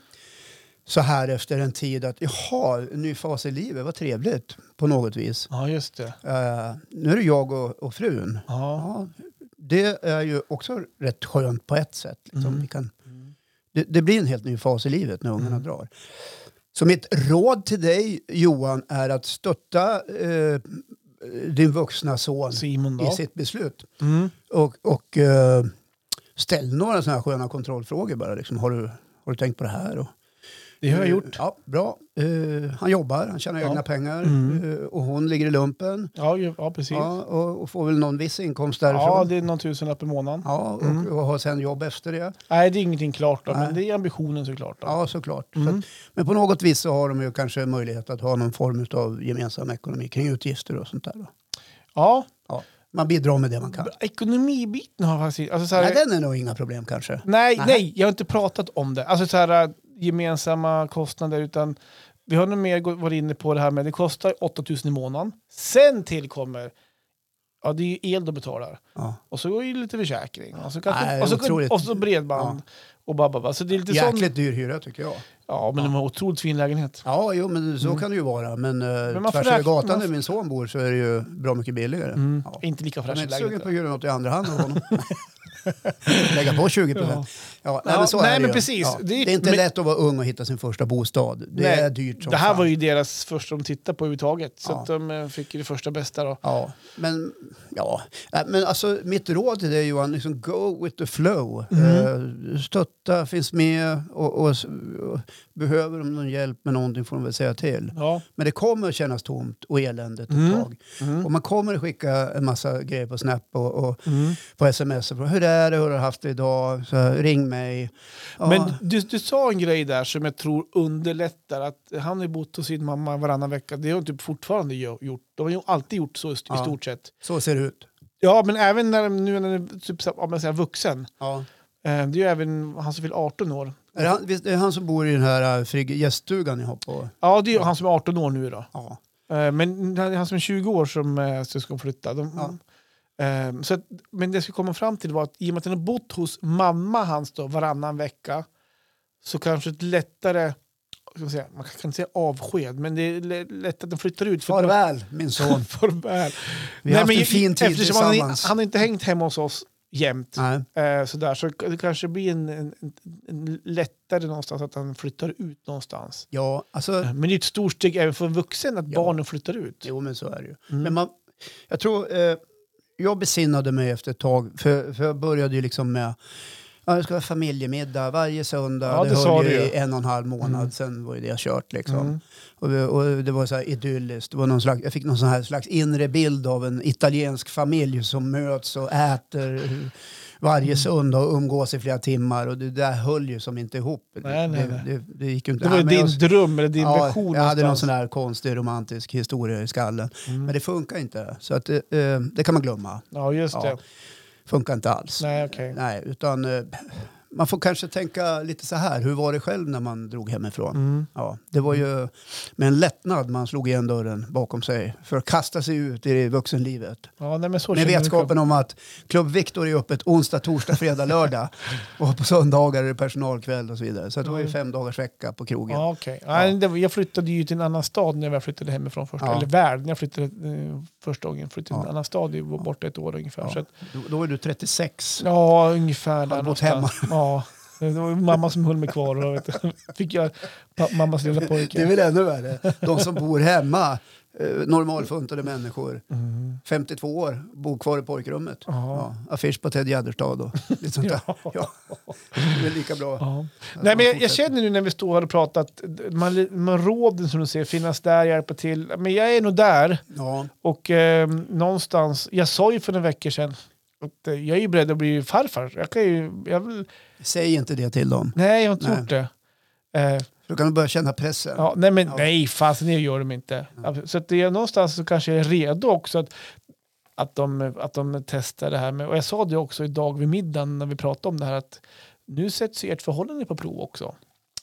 så här efter en tid att jaha, en ny fas i livet, vad trevligt på något vis.
ja just det.
Eh, nu är det jag och, och frun.
Ja.
Ja, det är ju också rätt skönt på ett sätt. Liksom.
Mm. Mm.
Vi kan, det, det blir en helt ny fas i livet när ungarna drar. Så mitt råd till dig Johan är att stötta eh, din vuxna son
Simon då?
i sitt beslut.
Mm.
Och, och eh, ställ några sådana här sköna kontrollfrågor bara. Liksom, har, du, har du tänkt på det här? Och,
Det har jag gjort.
Ja, bra. Eh, han jobbar, han tjänar
Ja.
egna pengar
Mm.
eh, och hon ligger i lumpen.
Ja, ju- ja precis. Ja,
Ja, och, och får väl någon viss inkomst därifrån. Ja,
det är någon tusenlapp i månaden.
och,
Mm.
och har sen jobb efter det.
Nej, det är ingenting klart då, men
Nej.
det är ambitionen såklart. Då.
Ja, såklart. Så
Mm.
att, men på något vis så har de ju kanske möjlighet att ha någon form av gemensam ekonomi kring utgifter och sånt där. Då.
ja.
Ja. Man bidrar med det man kan.
Ekonomibiten har faktiskt... Alltså, så här, Mm.
Nej, den är nog inga problem kanske.
Nej,
Nej.
nej, jag har inte pratat om det. Alltså så här äh, gemensamma kostnader utan vi har nog mer gå- varit inne på det här med det kostar 8000 i månaden. Sen tillkommer, ja det är ju el du betalar.
Ja.
Och så är det ju lite försäkring. Och så, kanske,
Nej,
och så,
otroligt.
och så bredband. Och bababa. Så det är lite sån,
Jäkligt dyr hyra tycker jag.
Ja, men de har otroligt fin lägenhet.
Ja, jo, men så kan det ju vara. Men, eh,
Mm. man får
tvärs över
räkna-
gatan
man Mm.
där
får-
min son bor så är det ju bra mycket billigare. Ja.
Inte lika
Jag är
fräscha
inte sugen på
lägenheter.
att hyra något i andra hand av honom. Lägga på 20
Ja.
procent. Ja. nej,
Ja,
men så
nej,
är det
men
ju.
precis.
Ja.
Det
Det,
är-
är, inte
men-
lätt att vara ung och hitta sin första bostad. Det
Nej,
är dyrt som
Det här
fan.
var ju deras första de tittade på överhuvudtaget. Så
Ja.
att de eh, fick ju det första bästa då.
Ja, men, ja. Äh, men alltså, mitt råd till dig Johan, liksom go with the flow.
Mhm.
Eh, Stötta, finns med och, och, och behöver de någon hjälp med någonting får de väl säga till.
Ja.
Men det kommer att kännas tomt och eländigt ett
Mm.
tag. Och man kommer att skicka en massa grejer på Snap och, och
Mm.
på sms. Och, hur är det? Hur har du haft det idag? Så här, ring mig. Ja,
Men du, du sa en grej där som jag tror underlättar. Att han har ju bott hos sin mamma varannan vecka. Det har hon typ fortfarande gö- gjort. De har ju alltid gjort så i st- i
Ja.
stort sett.
Så ser det ut.
Ja, men även när de, nu när de är typ, så- om man säger vuxen.
Ja.
Eh, Det är ju även han som fyller 18 år.
Är det, han, visst, är det han som bor i den här äh, frigg- gäststugan ni har på?
Ja, det är ju han som är 18 år nu då.
Ja.
Eh, Men det är han som är 20 år som eh, syskon flytta. De, eh, så att, men det jag skulle komma fram till var att i och med att han har bott hos mamma hans då, varannan vecka så kanske ett lättare, vad ska man, säga, man kan inte säga avsked, men det är lä- lätt att den flyttar ut. för-
Farväl min son.
Farväl.
Vi har haft en fin tid
eftersom han,
tillsammans.
han har inte hängt hemma hos oss jämt.
Nej.
Eh, sådär, så det kanske blir en, en, en lättare någonstans att han flyttar ut någonstans.
Ja, alltså
Men det är ju ett stort steg även för en vuxen att
Ja.
barnen flyttar ut.
Jo, men så är det
Mm.
ju. Men man, jag tror, eh, jag besinnade mig efter ett tag, för, för jag började ju liksom med Ja, det ska vara familjemiddag varje söndag.
Ja, det
det
sa
höll ju
du ju.
i en och en halv månad,
Mm.
sen var ju det kört liksom.
Mm.
Och, vi- och det var så här idylliskt. Det var någon slags, jag fick någon sån här slags inre bild av en italiensk familj som möts och äter
Mm.
varje söndag och umgås i flera timmar. Och det där höll ju som inte ihop.
Nej, nej,
det,
nej.
det, det gick ju inte.
Det var ju
Nej, men
din
jag-
dröm eller din
ja,
vision.
Jag hade någon
någonstans.
sån där konstig romantisk historia i skallen.
Mm.
Men det funkar inte. Så att, eh, eh, det kan man glömma.
Ja, just
Ja.
det.
Funkar inte alls.
Nej, okej.
Nej, utan eh, man får kanske tänka lite så här. Hur var det själv när man drog hemifrån?
Mm.
Ja, det var ju med en lättnad man slog igen dörren bakom sig för att kasta sig ut i vuxenlivet.
Ja, nej, men så
Med
känner jag.
vetskapen om att Club Victor är öppet onsdag, torsdag, fredag, lördag. Och på söndagar är det personalkväll och så vidare. Så det var ju fem dagars vecka på krogen.
Mm. Ja, okej. Nej, det var- Jag flyttade ju till en annan stad när jag flyttade hemifrån första
Ja.
Eller värld, när jag flyttade eh, första gången. Jag flyttade till en
Ja.
annan stad, jag var borta ett år ungefär.
Ja.
Så att,
Då, då är du 36.
ja ungefär där
bott
någonstans. Ja. Det var ju mamma som höll mig kvar och då vet jag, fick jag pa- mammas lilla
Det är
pojke.
väl ännu värre. De som bor hemma, eh, normalfuntade människor, 52 år, bor kvar i pojkrummet.
Mm. Ja.
Ja, affisch på Ted Gärdestad och lite sånt där.
Ja.
Ja. Det är lika bra.
Ja.
att
Nej,
man
men jag, jag
fortsätter.
känner nu när vi står här och pratar att man, man råden som du ser finnas där, hjälpa till. Men jag är nog där.
Ja.
Och eh, någonstans, jag sa ju för några veckor sedan att eh, jag är ju beredd att bli farfar. Jag kan ju, jag vill,
Säg inte det till dem.
nej, jag har inte
Nej.
gjort det. Eh,
Då kan de börja känna pressen.
ja, nej, men
Ja.
nej, fasen det gör de inte. Så att det är någonstans så kanske jag är redo också att, att, de, att de testar det här. Med, och jag sa det också idag vid middagen när vi pratade om det här att nu sätts ju ert förhållande på prov också.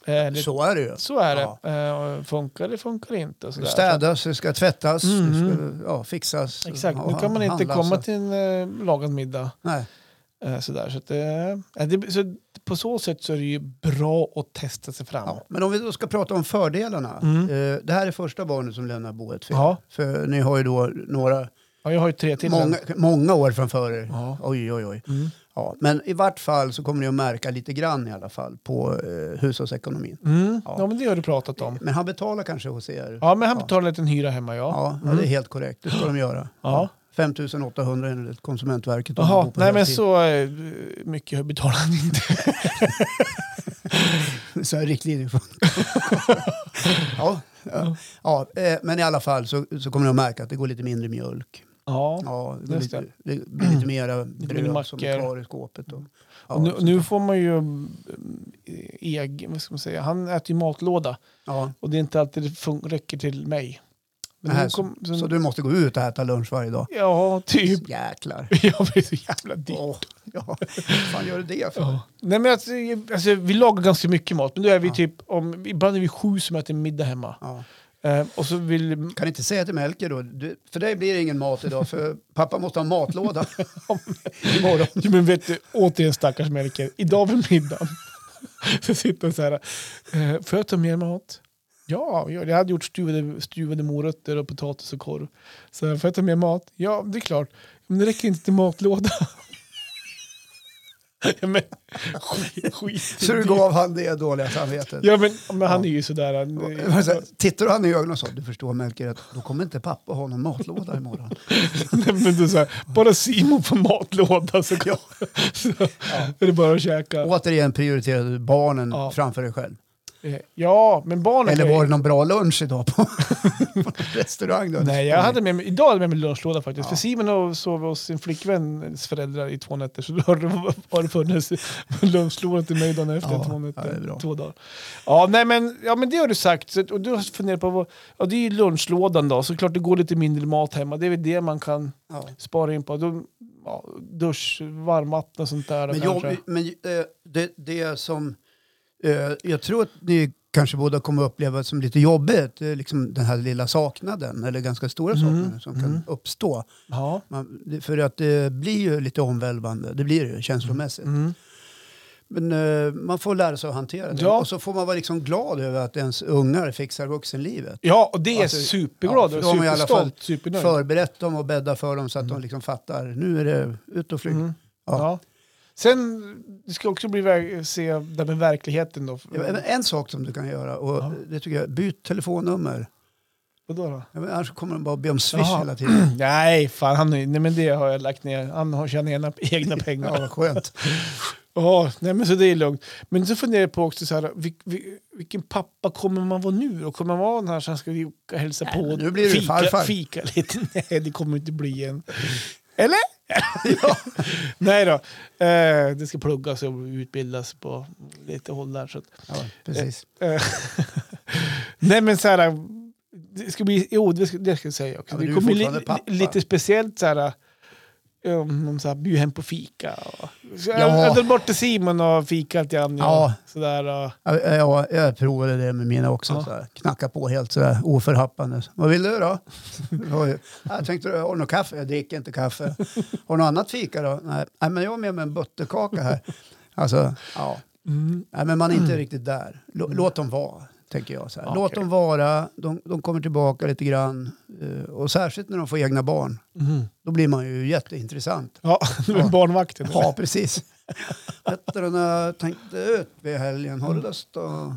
Eh, eller-
Så är det ju.
så är det.
Ja.
Eh, och funkar det, funkar det inte. och
Det
sådär.
städas, det ska tvättas, det
Mhm.
ska ja, fixas.
Exakt,
ja, alltså.
nu kan man inte
handlas.
komma till en eh, lagad middag.
Nej.
Eh, Sådär, så att, eh, eh, det, så på så sätt så är det ju bra att testa sig fram.
Ja. Men om vi då ska prata om fördelarna.
Mm.
Eh, det här är första barnet som lämnar boet för, er.
Ja.
för ni har ju då några,
Ja, jag har ju tre till.
många, många år framför er.
Ja.
Oj, oj, oj.
Mm.
Ja, men i vart fall så kommer ni att märka lite grann i alla fall på eh, hushållsekonomin.
Mm. Ja.
Ja.
men det har du pratat om.
Men han betalar kanske hos er?
Ja, men han
Ja.
betalar en liten hyra hemma, ja. Mm.
Ja, ja, det är helt korrekt. Det ska de göra.
Ja.
5 800 enligt Konsumentverket. om man
Jaha,
bor på
nej men
heltid.
så eh, mycket betalar han inte.
Så här riktlinjer från... ja, ja, ja, eh, men i alla fall så, så kommer ni att märka att det går lite mindre mjölk.
Ja.
Ja, det, går
just
lite, det. blir lite mera
mindre
bröd som är
mackor.
kvar i skåpet. Och, ja,
och nu,
så-
nu får man ju mm, egen, vad ska man säga, han äter ju matlåda
ja.
och det är inte alltid det fun- räcker till mig. Men
Nej,
nu kom, så,
Så du måste gå ut och äta lunch varje dag?
Ja, typ.
Jäklar.
Jag blir så jävla dyr.
Åh, ja. Vad fan gör du det för? Ja.
Nej, men alltså, alltså, vi lagar ganska mycket mat, men då är vi
Ja.
typ, om, ibland är vi sju som äter middag hemma. Eh, och så vill,
Kan inte säga till Melker då, du, för dig blir det ingen mat idag för pappa måste ha en matlåda imorgon.
jo, men vet du, återigen stackars Melker, idag vid middagen så sitter han så här, eh, får jag ta mer mat? Ja, jag jag hade gjort stuvade, stuvade morötter och potatis och korv. Så här, får jag ta mer mat? Ja, det är klart. Men det räcker inte till matlåda. Ja, men, skit, skit. i
Så du
det.
gav han det dåliga samvetet?
Ja, men, men han är ju sådär. Han,
Jag bara så här, Tittar du han i ögonen och sa du förstår Melker att då kommer inte pappa ha någon matlåda imorgon.
Nej, men du, så här, bara Simon får matlåda så, ja. så är det bara att käka.
Återigen prioriterade du barnen
Ja.
framför dig själv.
Eh, Ja, men barnen...
Eller
kan ju-
var det någon bra lunch idag på, på restaurang? Då?
Nej, jag hade med mig, idag hade jag med mig lunchlåda faktiskt. För Simon och sov hos sin flickväns föräldrar i två nätter. Så då har det- har det funnits lunchlåda till mig dagen efter
Ja,
två
ja, det
nätter.
är bra.
två dagar. Ja, nej, men, ja, men det har du sagt. Så, och du har funderat på, vad, ja det är ju lunchlådan då. Såklart det går lite mindre mat hemma. Det är väl det man kan
Ja.
spara in på. Då, ja, dusch, varmvatten och sånt där.
Men,
kanske.
jag, men eh, det, det som eh, jag tror att ni kanske båda kommer att uppleva som lite jobbigt, det är liksom den här lilla saknaden, eller ganska stora
Mhm.
saknaden som kan uppstå.
Ja.
Man, det- för att det blir ju lite omvälvande, det blir det ju känslomässigt.
Mm.
Men eh, man får lära sig att hantera det.
Ja.
Och så får man vara liksom glad över att ens ungar fixar vuxenlivet.
Ja, och det är
Alltså, ja,
superglad
för
och
då har man i alla fall
superstolt, supernöjd.
Förberett dem och bädda för dem så att
Mhm.
de liksom fattar, nu är det ut och flyg.
Mm.
Ja.
Ja. Sen, det ska också bli väg, se det med verkligheten då.
Ja, men En sak som du kan göra, och
Ja.
det tycker jag, byt telefonnummer.
Vadå då?
Ja, men annars kommer de bara be om swish
Jaha.
hela tiden.
Nej, fan, han, nej, men det har jag lagt ner. Han har tjänat egna, egna pengar.
Ja, vad skönt.
Ja, nej men så det är lugnt. Men så funderar jag på också så här, vil, vil, vilken pappa kommer man vara nu då? Kommer man vara den här som ska vi åka och hälsa på? och
nu blir du
fika,
farfar.
Fika lite? Nej, det kommer inte bli en. Eller? ja. Nej då. Eh, det ska pluggas och utbildas på lite håll där. Så att,
Ja, precis.
eh, nej men så här, det ska bli, jo det ska, det ska jag säga också.
Ja, men
det
du är
kommer bli
fortfarande pappa.
lite speciellt så här, um, om så här, bjud hem på fika. Och, så,
Ja.
Jag drar bort till Simon och fika till Annie.
Ja.
Och, så där, eh. och,
Ja, jag, jag provade det med mina också.
Ja.
Så här. Knacka på helt så här, oförhappande. Vad vill du då? Oj. Ja, jag tänkte, har du något kaffe? Jag dricker inte kaffe. Har du något annat fika då? Nej, Nej, men jag har med mig en butterkaka här. Alltså, ja. Nej, men man är inte riktigt där. Lå- Låt dem vara, tänker jag. Så här.
Ja,
Låt
Mm. okej.
dem vara, de, de kommer tillbaka lite grann. Eh, Och särskilt när de får egna barn. Då blir man ju jätteintressant.
ja, du är
mm. Ja.
barnvakten.
Ja, precis. Efter den här tänkte ut vid helgen, har du lust att...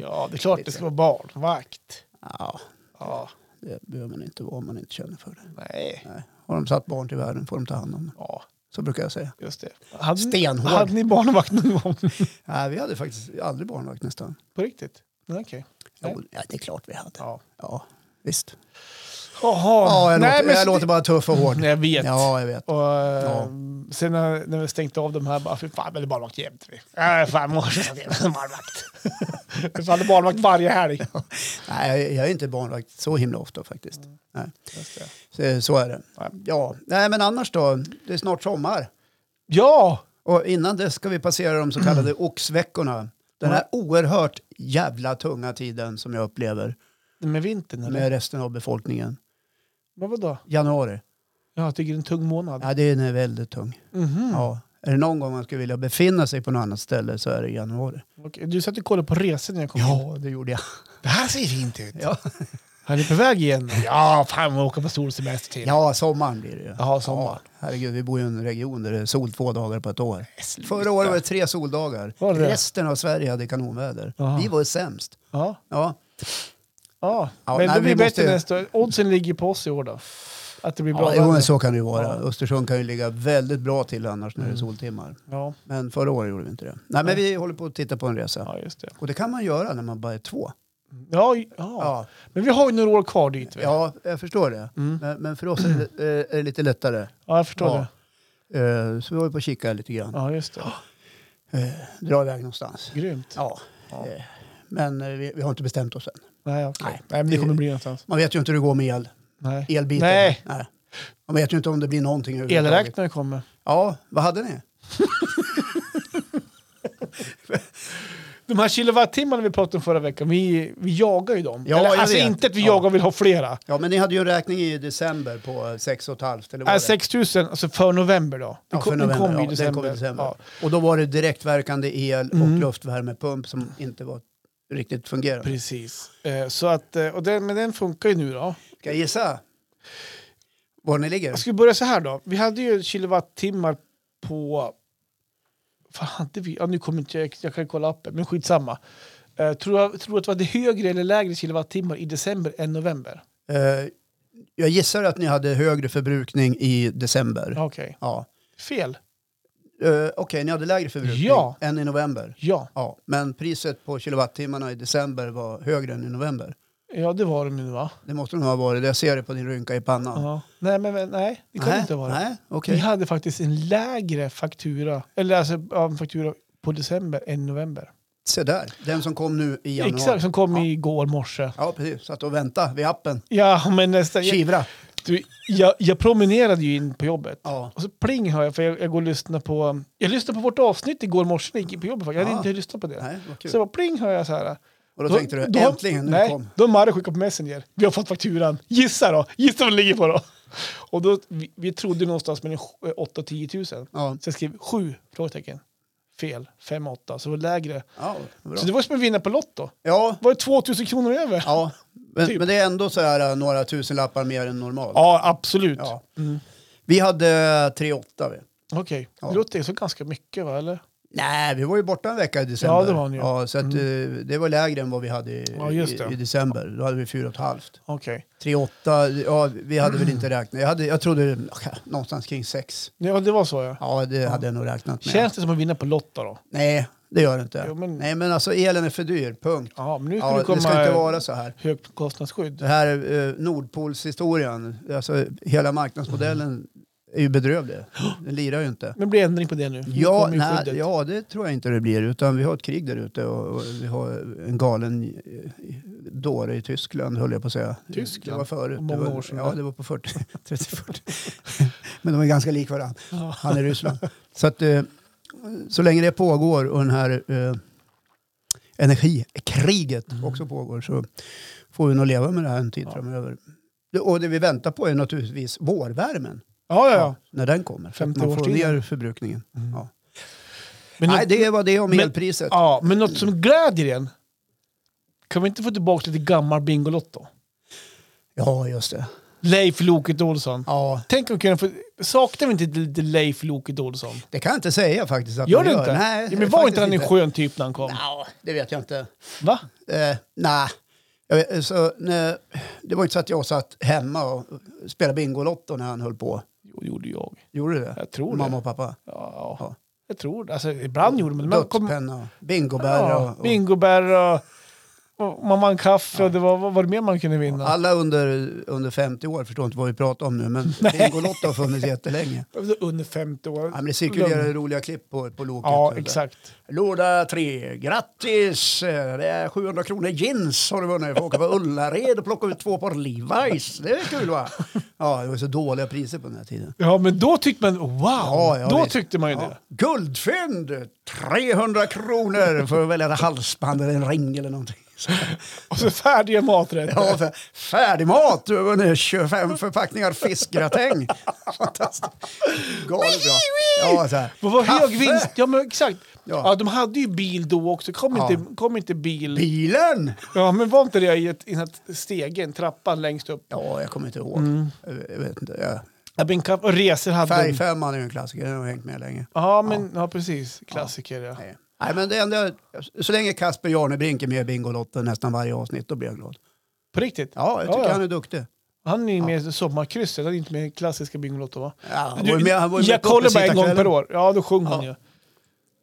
Ja, det är klart det ska vara barnvakt.
Ja,
Ja,
det behöver man inte vara om man inte känner för det.
nej.
Nej. Har de satt barn till världen får de ta hand om dem.
Ja,
Så brukar jag säga.
just det. Hade, ni-
Stenhård.
Hade ni barnvakt någon gång?
Nej, vi hade faktiskt aldrig barnvakt nästan.
på riktigt? Nej, Okej. Nej.
Jo, ja, det är klart vi hade. Ja,
Ja.
visst.
Jaha.
Ja, jag, låter,
men så
jag
det-
låter bara tuff och hård.
Nej, jag vet.
Ja, jag vet.
Och, eh, Sen när, när vi stängt av de här, bara, fy fan, det är barnvakt jämt. Äh, fan, morsan sa det, barnvakt. Vi hade barnvakt varje helg.
Nej, jag- jag är inte barnvakt så himla ofta faktiskt. Nej.
Just det.
Så, så är det.
Nej.
Ja, Mm. nej men annars då? Det är snart sommar.
Ja!
Och innan det ska vi passera de så kallade
Mm.
oxveckorna. Den här oerhört jävla tunga tiden som jag upplever
Med vintern eller?
med resten av befolkningen.
Men vadå?
Januari.
Ja, jag tycker det är en tung månad.
Ja, den är väldigt tung.
Mhm.
Ja. Är det någon gång man skulle vilja befinna sig på något annat ställe så är det i januari.
Okej, Du satt och kollade på resor när jag kom in.
Ja, det gjorde jag.
Det här ser fint ut.
Ja,
Han är på väg igen. Ja, fan vi åker på solsemester till.
ja sommaren blir det ju.
Jaha, sommar.
Ja, herregud, vi bor ju i en region där det är sol två dagar på ett år.
sluta.
Förra året var det tre soldagar.
Var det det?
Resten av Sverige hade kanonväder.
Jaha.
Vi var ju sämst.
Ja.
Ja,
ja.
Ja,
Men
nej,
det blir
vi
bättre
måste-
nästa år. Oddsen ligger på oss i år då. Att det blir
ja
bra
jo,
väder.
men så kan det ju vara.
Ja. Mm.
Östersund kan ju ligga väldigt bra till annars när det är soltimmar.
Ja.
Men förra året gjorde vi inte det. Nej, men vi håller på att titta på en resa.
ja, just det.
Och det kan man göra när man bara är två.
Ja, ja.
Ja,
Men vi har ju några år kvar dit. Ja,
ja jag förstår det. Men, men för oss är det, eh, är det lite lättare.
ja jag förstår
Ja.
det.
Eh, Så vi håller på att kika lite grann.
Ja, just det.
Dra iväg någonstans.
Grymt.
Ja.
Ja.
Eh, Men eh, vi, vi har inte bestämt oss än.
Nej, okej.
Nej,
Nej, men det
det-
kommer bli någonstans.
Man vet ju inte hur det går med el.
Nej.
Elbiten.
Nej.
Man vet ju inte om det blir någonting överhuvudtaget.
Elräknare kommer.
Ja, vad hade ni?
De här kilowattimmarna vi pratade om förra veckan, vi, vi jagar ju dem.
Ja, jag
Eller, alltså
vet.
inte att vi
Ja.
jagar och vill ha flera.
Ja, men ni hade ju en räkning i december på 6,5 eller vad
Äh,
det?
6 000, alltså för november då. Den
Ja,
kom-
för
den
november.
kom ju i
Ja, den
december.
kom i december.
Ja,
Och då var det direktverkande el och
Mm.
luftvärmepump som inte var riktigt fungerande.
precis. Eh, Så att, eh, och den, men den funkar ju nu då.
Ska jag gissa var ni ligger?
Jag skulle börja så här då. Vi hade ju kilowattimmar på Fan, hade vi, ja, nu kommer inte jag, jag kan kolla appen, men skitsamma. Eh, tror, jag, tror att vi hade högre eller lägre kilowattimmar i december än november?
Eh, jag gissar att ni hade högre förbrukning i december. Ja.
Okej. Fel.
Eh, Okej, ni hade lägre förbrukning
Ja.
än i november.
Ja.
Ja, men priset på kilowattimmarna i december var högre än i november.
ja, det var de ju va?
Det måste nog ha varit det. Jag ser det på din rynka i pannan.
Ja. Nej, men, men nej, det kan
nej,
inte vara det.
Nej, okej.
Vi hade faktiskt en lägre faktura, eller alltså ja, en faktura på december än november.
Se där, den som kom nu i januari.
Exakt, som kom
Ja.
igår morse.
Ja, precis. Satt och väntade vid appen.
Ja, men nästan. Jag,
Kivra.
du, jag, jag promenerade ju in på jobbet.
Ja.
Och så pling hör jag, för jag, jag går och lyssnar på... Jag lyssnade på vårt avsnitt igår morse när jag gick på jobbet. faktiskt. Jag hade
Ja.
inte lyssnat på det.
Nej, vad kul.
Så jag bara pling hör jag så här.
och då tänkte du,
då-
äntligen, nu
nej,
kom.
Då har Marre skickat på Messenger. Vi har fått fakturan. Gissa då! Gissa vad det ligger på då! Och då, vi, vi trodde någonstans mellan 8 och 10 000. Så
Ja,
jag skrev 7 frågetecken. Fel. 5 8, så det var lägre.
ja bra.
Så det var som att vinna på Lotto.
Ja,
Var det 2 000 kronor över? Ja,
ja. Men,
Typ.
men det är ändå så här eh, några tusenlappar mer än normalt.
absolut.
Ja.
Mm.
Vi hade eh, 3,8 vi.
Okej,
Ja.
det låter så ganska mycket va? Eller?
Nej, vi var ju borta en vecka i december.
Ja, det var ni ju. Mm.
ja, så att, eh, det var lägre än vad vi hade i,
Ja, just det.
i, i december. Då hade vi 4,5.
Okej.
3,8, ja vi hade väl inte räknat. Jag, hade, jag trodde eh, någonstans kring 6.
Ja, det var så ja.
Ja, det hade jag nog räknat med.
Känns det som att vinna på Lotto då?
Nej, det gör det inte.
Jo, men-
Nej, men alltså elen är för dyr, punkt.
Ja, men nu ska
Ja,
det komma
det ska inte vara så här.
högkostnadsskydd.
Det här eh, Nordpolshistorien, alltså hela marknadsmodellen är ju bedrövlig. Den lirar ju inte.
Men blir ändring på det nu? Nu
Ja,
kommer ju
nej,
skyddet.
ja, det tror jag inte det blir. Utan vi har ett krig där ute och, och vi har en galen eh, dåre i Tyskland, höll jag på att säga.
Tyskland?
Det var förut.
Många
det var,
år sedan.
Ja, det var på 40, 30, 40. Men de är ganska lika varandra.
Ja.
Han är Ryssland. Så att eh, så länge det pågår och den här eh, energikriget också pågår så får vi nog leva med det här en tid
Mm. Ja.
framöver. Det- Och det vi väntar på är naturligtvis vårvärmen.
Ja, ja, ja.
När den kommer. Så att
50
man får
årstiden.
ner förbrukningen. Ja.
Mm. Men,
Nej,
något,
det var det om
men-
elpriset.
ja, men något som glädjer en. Kan vi inte få tillbaka lite gammal Bingolotto?
Ja, just det.
Leif Loket Olsson.
Ja,
Tänk om vi kunde få... Saknar vi inte lite Leif Loket Olsson?
det kan jag inte säga faktiskt. Att
Gör
man
du inte?
Nej,
ja, men var
faktiskt
inte han en skön typ när han kom?
Nja, det vet jag inte.
Va?
Eh, nej. Jag vet, så, nej, det var inte så att jag satt hemma och spelade Bingolotto när han höll på.
Jo, det gjorde jag.
Gjorde du det?
Jag tror det.
Mamma och pappa?
Ja,
Ja.
Jag tror det. Alltså, ibland gjorde man det. Man kom,
Dödspenna och bingobär
ja,
och, och
bingobär och, och man vann kaffe och det var, vad var det mer man kunde vinna?
alla under, under 50 år förstår inte vad vi pratar om nu men Bingolotto har funnits jättelänge.
Alltså, Under 50 år.
Ja, men det cirkulerar roliga klipp på, på loket.
Ja,
nu.
exakt.
Låda tre, grattis! Eh, Det är 700 kronor jeans har du vunnit. Du får åka på Ullared och plocka ut två par Levi's. Det är kul va? Ja, det var så dåliga priser på den här tiden.
Ja, men då tyckte man, wow!
Ja, ja,
då
visst.
tyckte man ju det.
Guldfynd! 300 kronor för att välja ett halsband eller en ring eller någonting. Så här.
Och så färdiga maträtter.
Ja, för färdig mat. Du har vunnit 25 förpackningar fiskgratäng. Fantastiskt. Galet bra. Ja, så här.
Vad var hög
Kaffe.
vinst? Ja, men exakt. Ja.
Ja.
de hade ju bil då också. Kom,
Ja.
inte, kom inte bil.
Bilen!
Ja, men var inte det i ett, i en stegen, trappan längst upp?
Ja, jag kommer inte ihåg.
Mm.
Jag vet inte. Ja.
Ja, men kaff- och resor hade de.
Färgfemman är ju en klassiker. Den har hängt med länge.
Ja, men ja. precis. Klassiker, ja.
Nej. Nej, men det enda, så länge Kasper Jarnebrink är med i Bingolotten nästan varje avsnitt, då blir jag glad.
På riktigt?
Ja, jag tycker
ja.
han är duktig.
Han är ju med i Sommarkrysset, han är inte med i klassiska Bingolotto va?
Ja, han
Du,
var ju med- han var ju med
jag
på
kollar bara en gång
uppesittarkvällen.
per år. Ja, då sjöng han ju.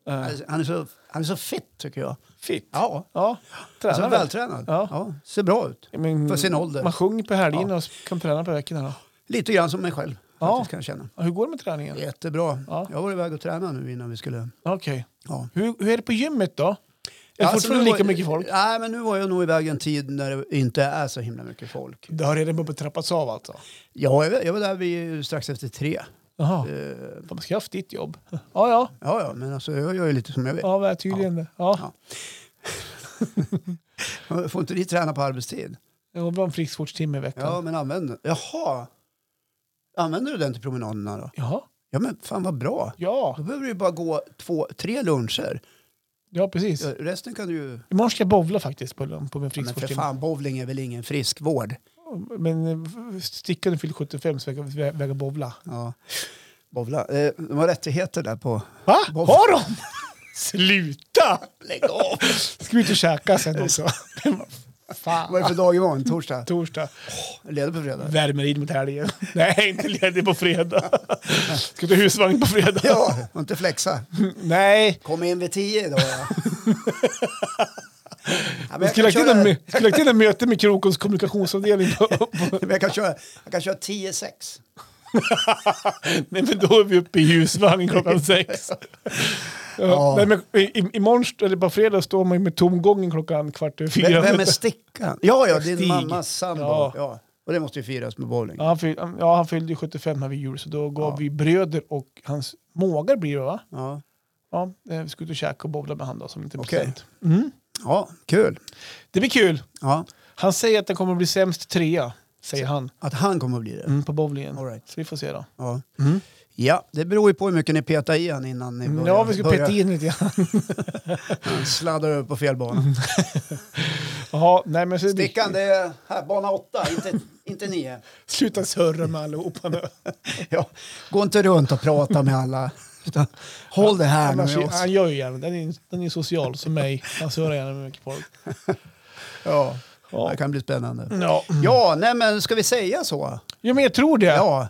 Alltså, Han är, så, han är så fit, tycker jag.
Fitt. Ja,
Ja,
tränar
så
väl.
vältränad.
Ja.
Ja. ser bra ut.
Men,
För sin ålder.
Man sjunger på helgerna och kan träna på veckorna. då.
Lite grann som mig själv,
Ja.
faktiskt, kan jag känna.
Ja, Hur går det med träningen?
Jättebra.
Ja.
Jag var iväg och tränade nu innan vi skulle...
Okej.
Ja.
Hur, hur är det på gymmet då? Är det
Alltså,
fortfarande
nu var-
lika mycket folk?
Nej, men nu var jag nog iväg en tid när det inte är så himla mycket folk.
Det har redan börjat trappas av alltså?
Ja, jag var- jag var där vid, strax efter tre.
Jaha.
Eh,
Fan, man ska ha haft ditt jobb. Ja, ja.
Ja, ja, men alltså, jag gör ju lite som jag vill.
Ja, vad tydligen det. Ja.
Ja. Får inte ni träna på arbetstid?
Det var bra en friskvårdstimme i veckan.
Ja, men använd den. Jaha! Använder du den till promenaderna då?
Jaha.
Ja, men fan vad bra.
Ja.
Då behöver du ju bara gå två, tre luncher.
ja, precis.
Ja, Resten kan du ju...
Imorgon ska jag bowla faktiskt på, på
Ja,
min
Men för
friskvårdstimme.
fan, bowling är väl ingen friskvård?
Men eh, stickan fyllde 75 så jag vä- vägrar bowla.
Ja. Bowla. Eh, de har rättigheter där på...
Va?
Bob-
Har de? Sluta!
Lägg av!
Ska vi inte käka sen också? Fan.
Vad är det för dag imorgon? Torsdag?
Torsdag.
Leder på fredag?
Värmerid mot helgen. Nej, inte ledig på fredag. Ska ta husvagn på fredag.
Ja, och inte flexa.
Nej,
Kom in vid tio idag. Ja. Ja, men
vi
jag,
skulle
kan
lagt in en
köra,
mö- skulle lagt in en möte med Krokons kommunikationsavdelning. På, på.
men jag kan köra, jag kan köra tio sex.
Nej, men då är vi uppe i husvagn klockan sex.
Ja.
Ja. Nej, men i, i, imorgon, eller på fredag, står man ju med tomgången klockan kvart över fyra.
Vem, vem är stickan? Ja, ja, din
Stig.
mammas sambo. Ja.
Ja.
Och det måste ju firas med bowling.
Ja, han fyllde, ja, han fyllde ju 75 här vid jul, så då gav
Ja.
vi bröder och hans mågar blir det va?
Ja,
Ja, eh, vi ska ut och käka och bowla med han då, som inte
Okej.
present.
ja kul.
Det blir kul!
Ja,
Han säger att den kommer bli sämst trea, säger han,
att han kommer att bli det.
mm, på bowlingen.
All right.
Så vi får se då.
Ja. ja, det beror ju på hur mycket ni petar i han innan ni börjar.
Mm. Ja, vi ska
börjar-
peta in lite grann.
Han sladdar över på fel bana.
Jaha, nej men... Så
Stickan, det är här, bana åtta, inte, inte nio.
Sluta surra med allihopa nu.
Ja, gå inte runt och prata med alla. Utan, håll det här
Annars,
med oss.
han gör ju gärna Den är, den är social som mig. Han surrar gärna med mycket folk.
Ja, det
Ja. Mm.
här kan bli spännande.
Ja.
Ja, nej men ska vi säga så?
ja, men jag tror det.
Ja,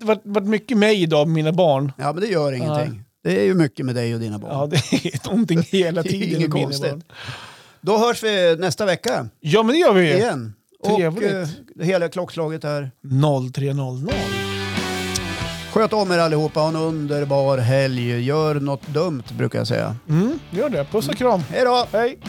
Det har varit mycket mig idag med mina barn.
ja men det gör ingenting. Det är ju mycket med dig och dina barn.
Ja, det är någonting hela
Det är
tiden.
inget
med mina
konstigt.
barn.
Då hörs vi nästa vecka
Ja, men det gör vi.
igen. Och
Trevligt.
eh, det hela klockslaget här.
0300.
Sköt om er allihopa, ha en underbar helg. Gör något dumt brukar jag säga.
Mm, gör det. Puss och kram.
Hej då!
Hej.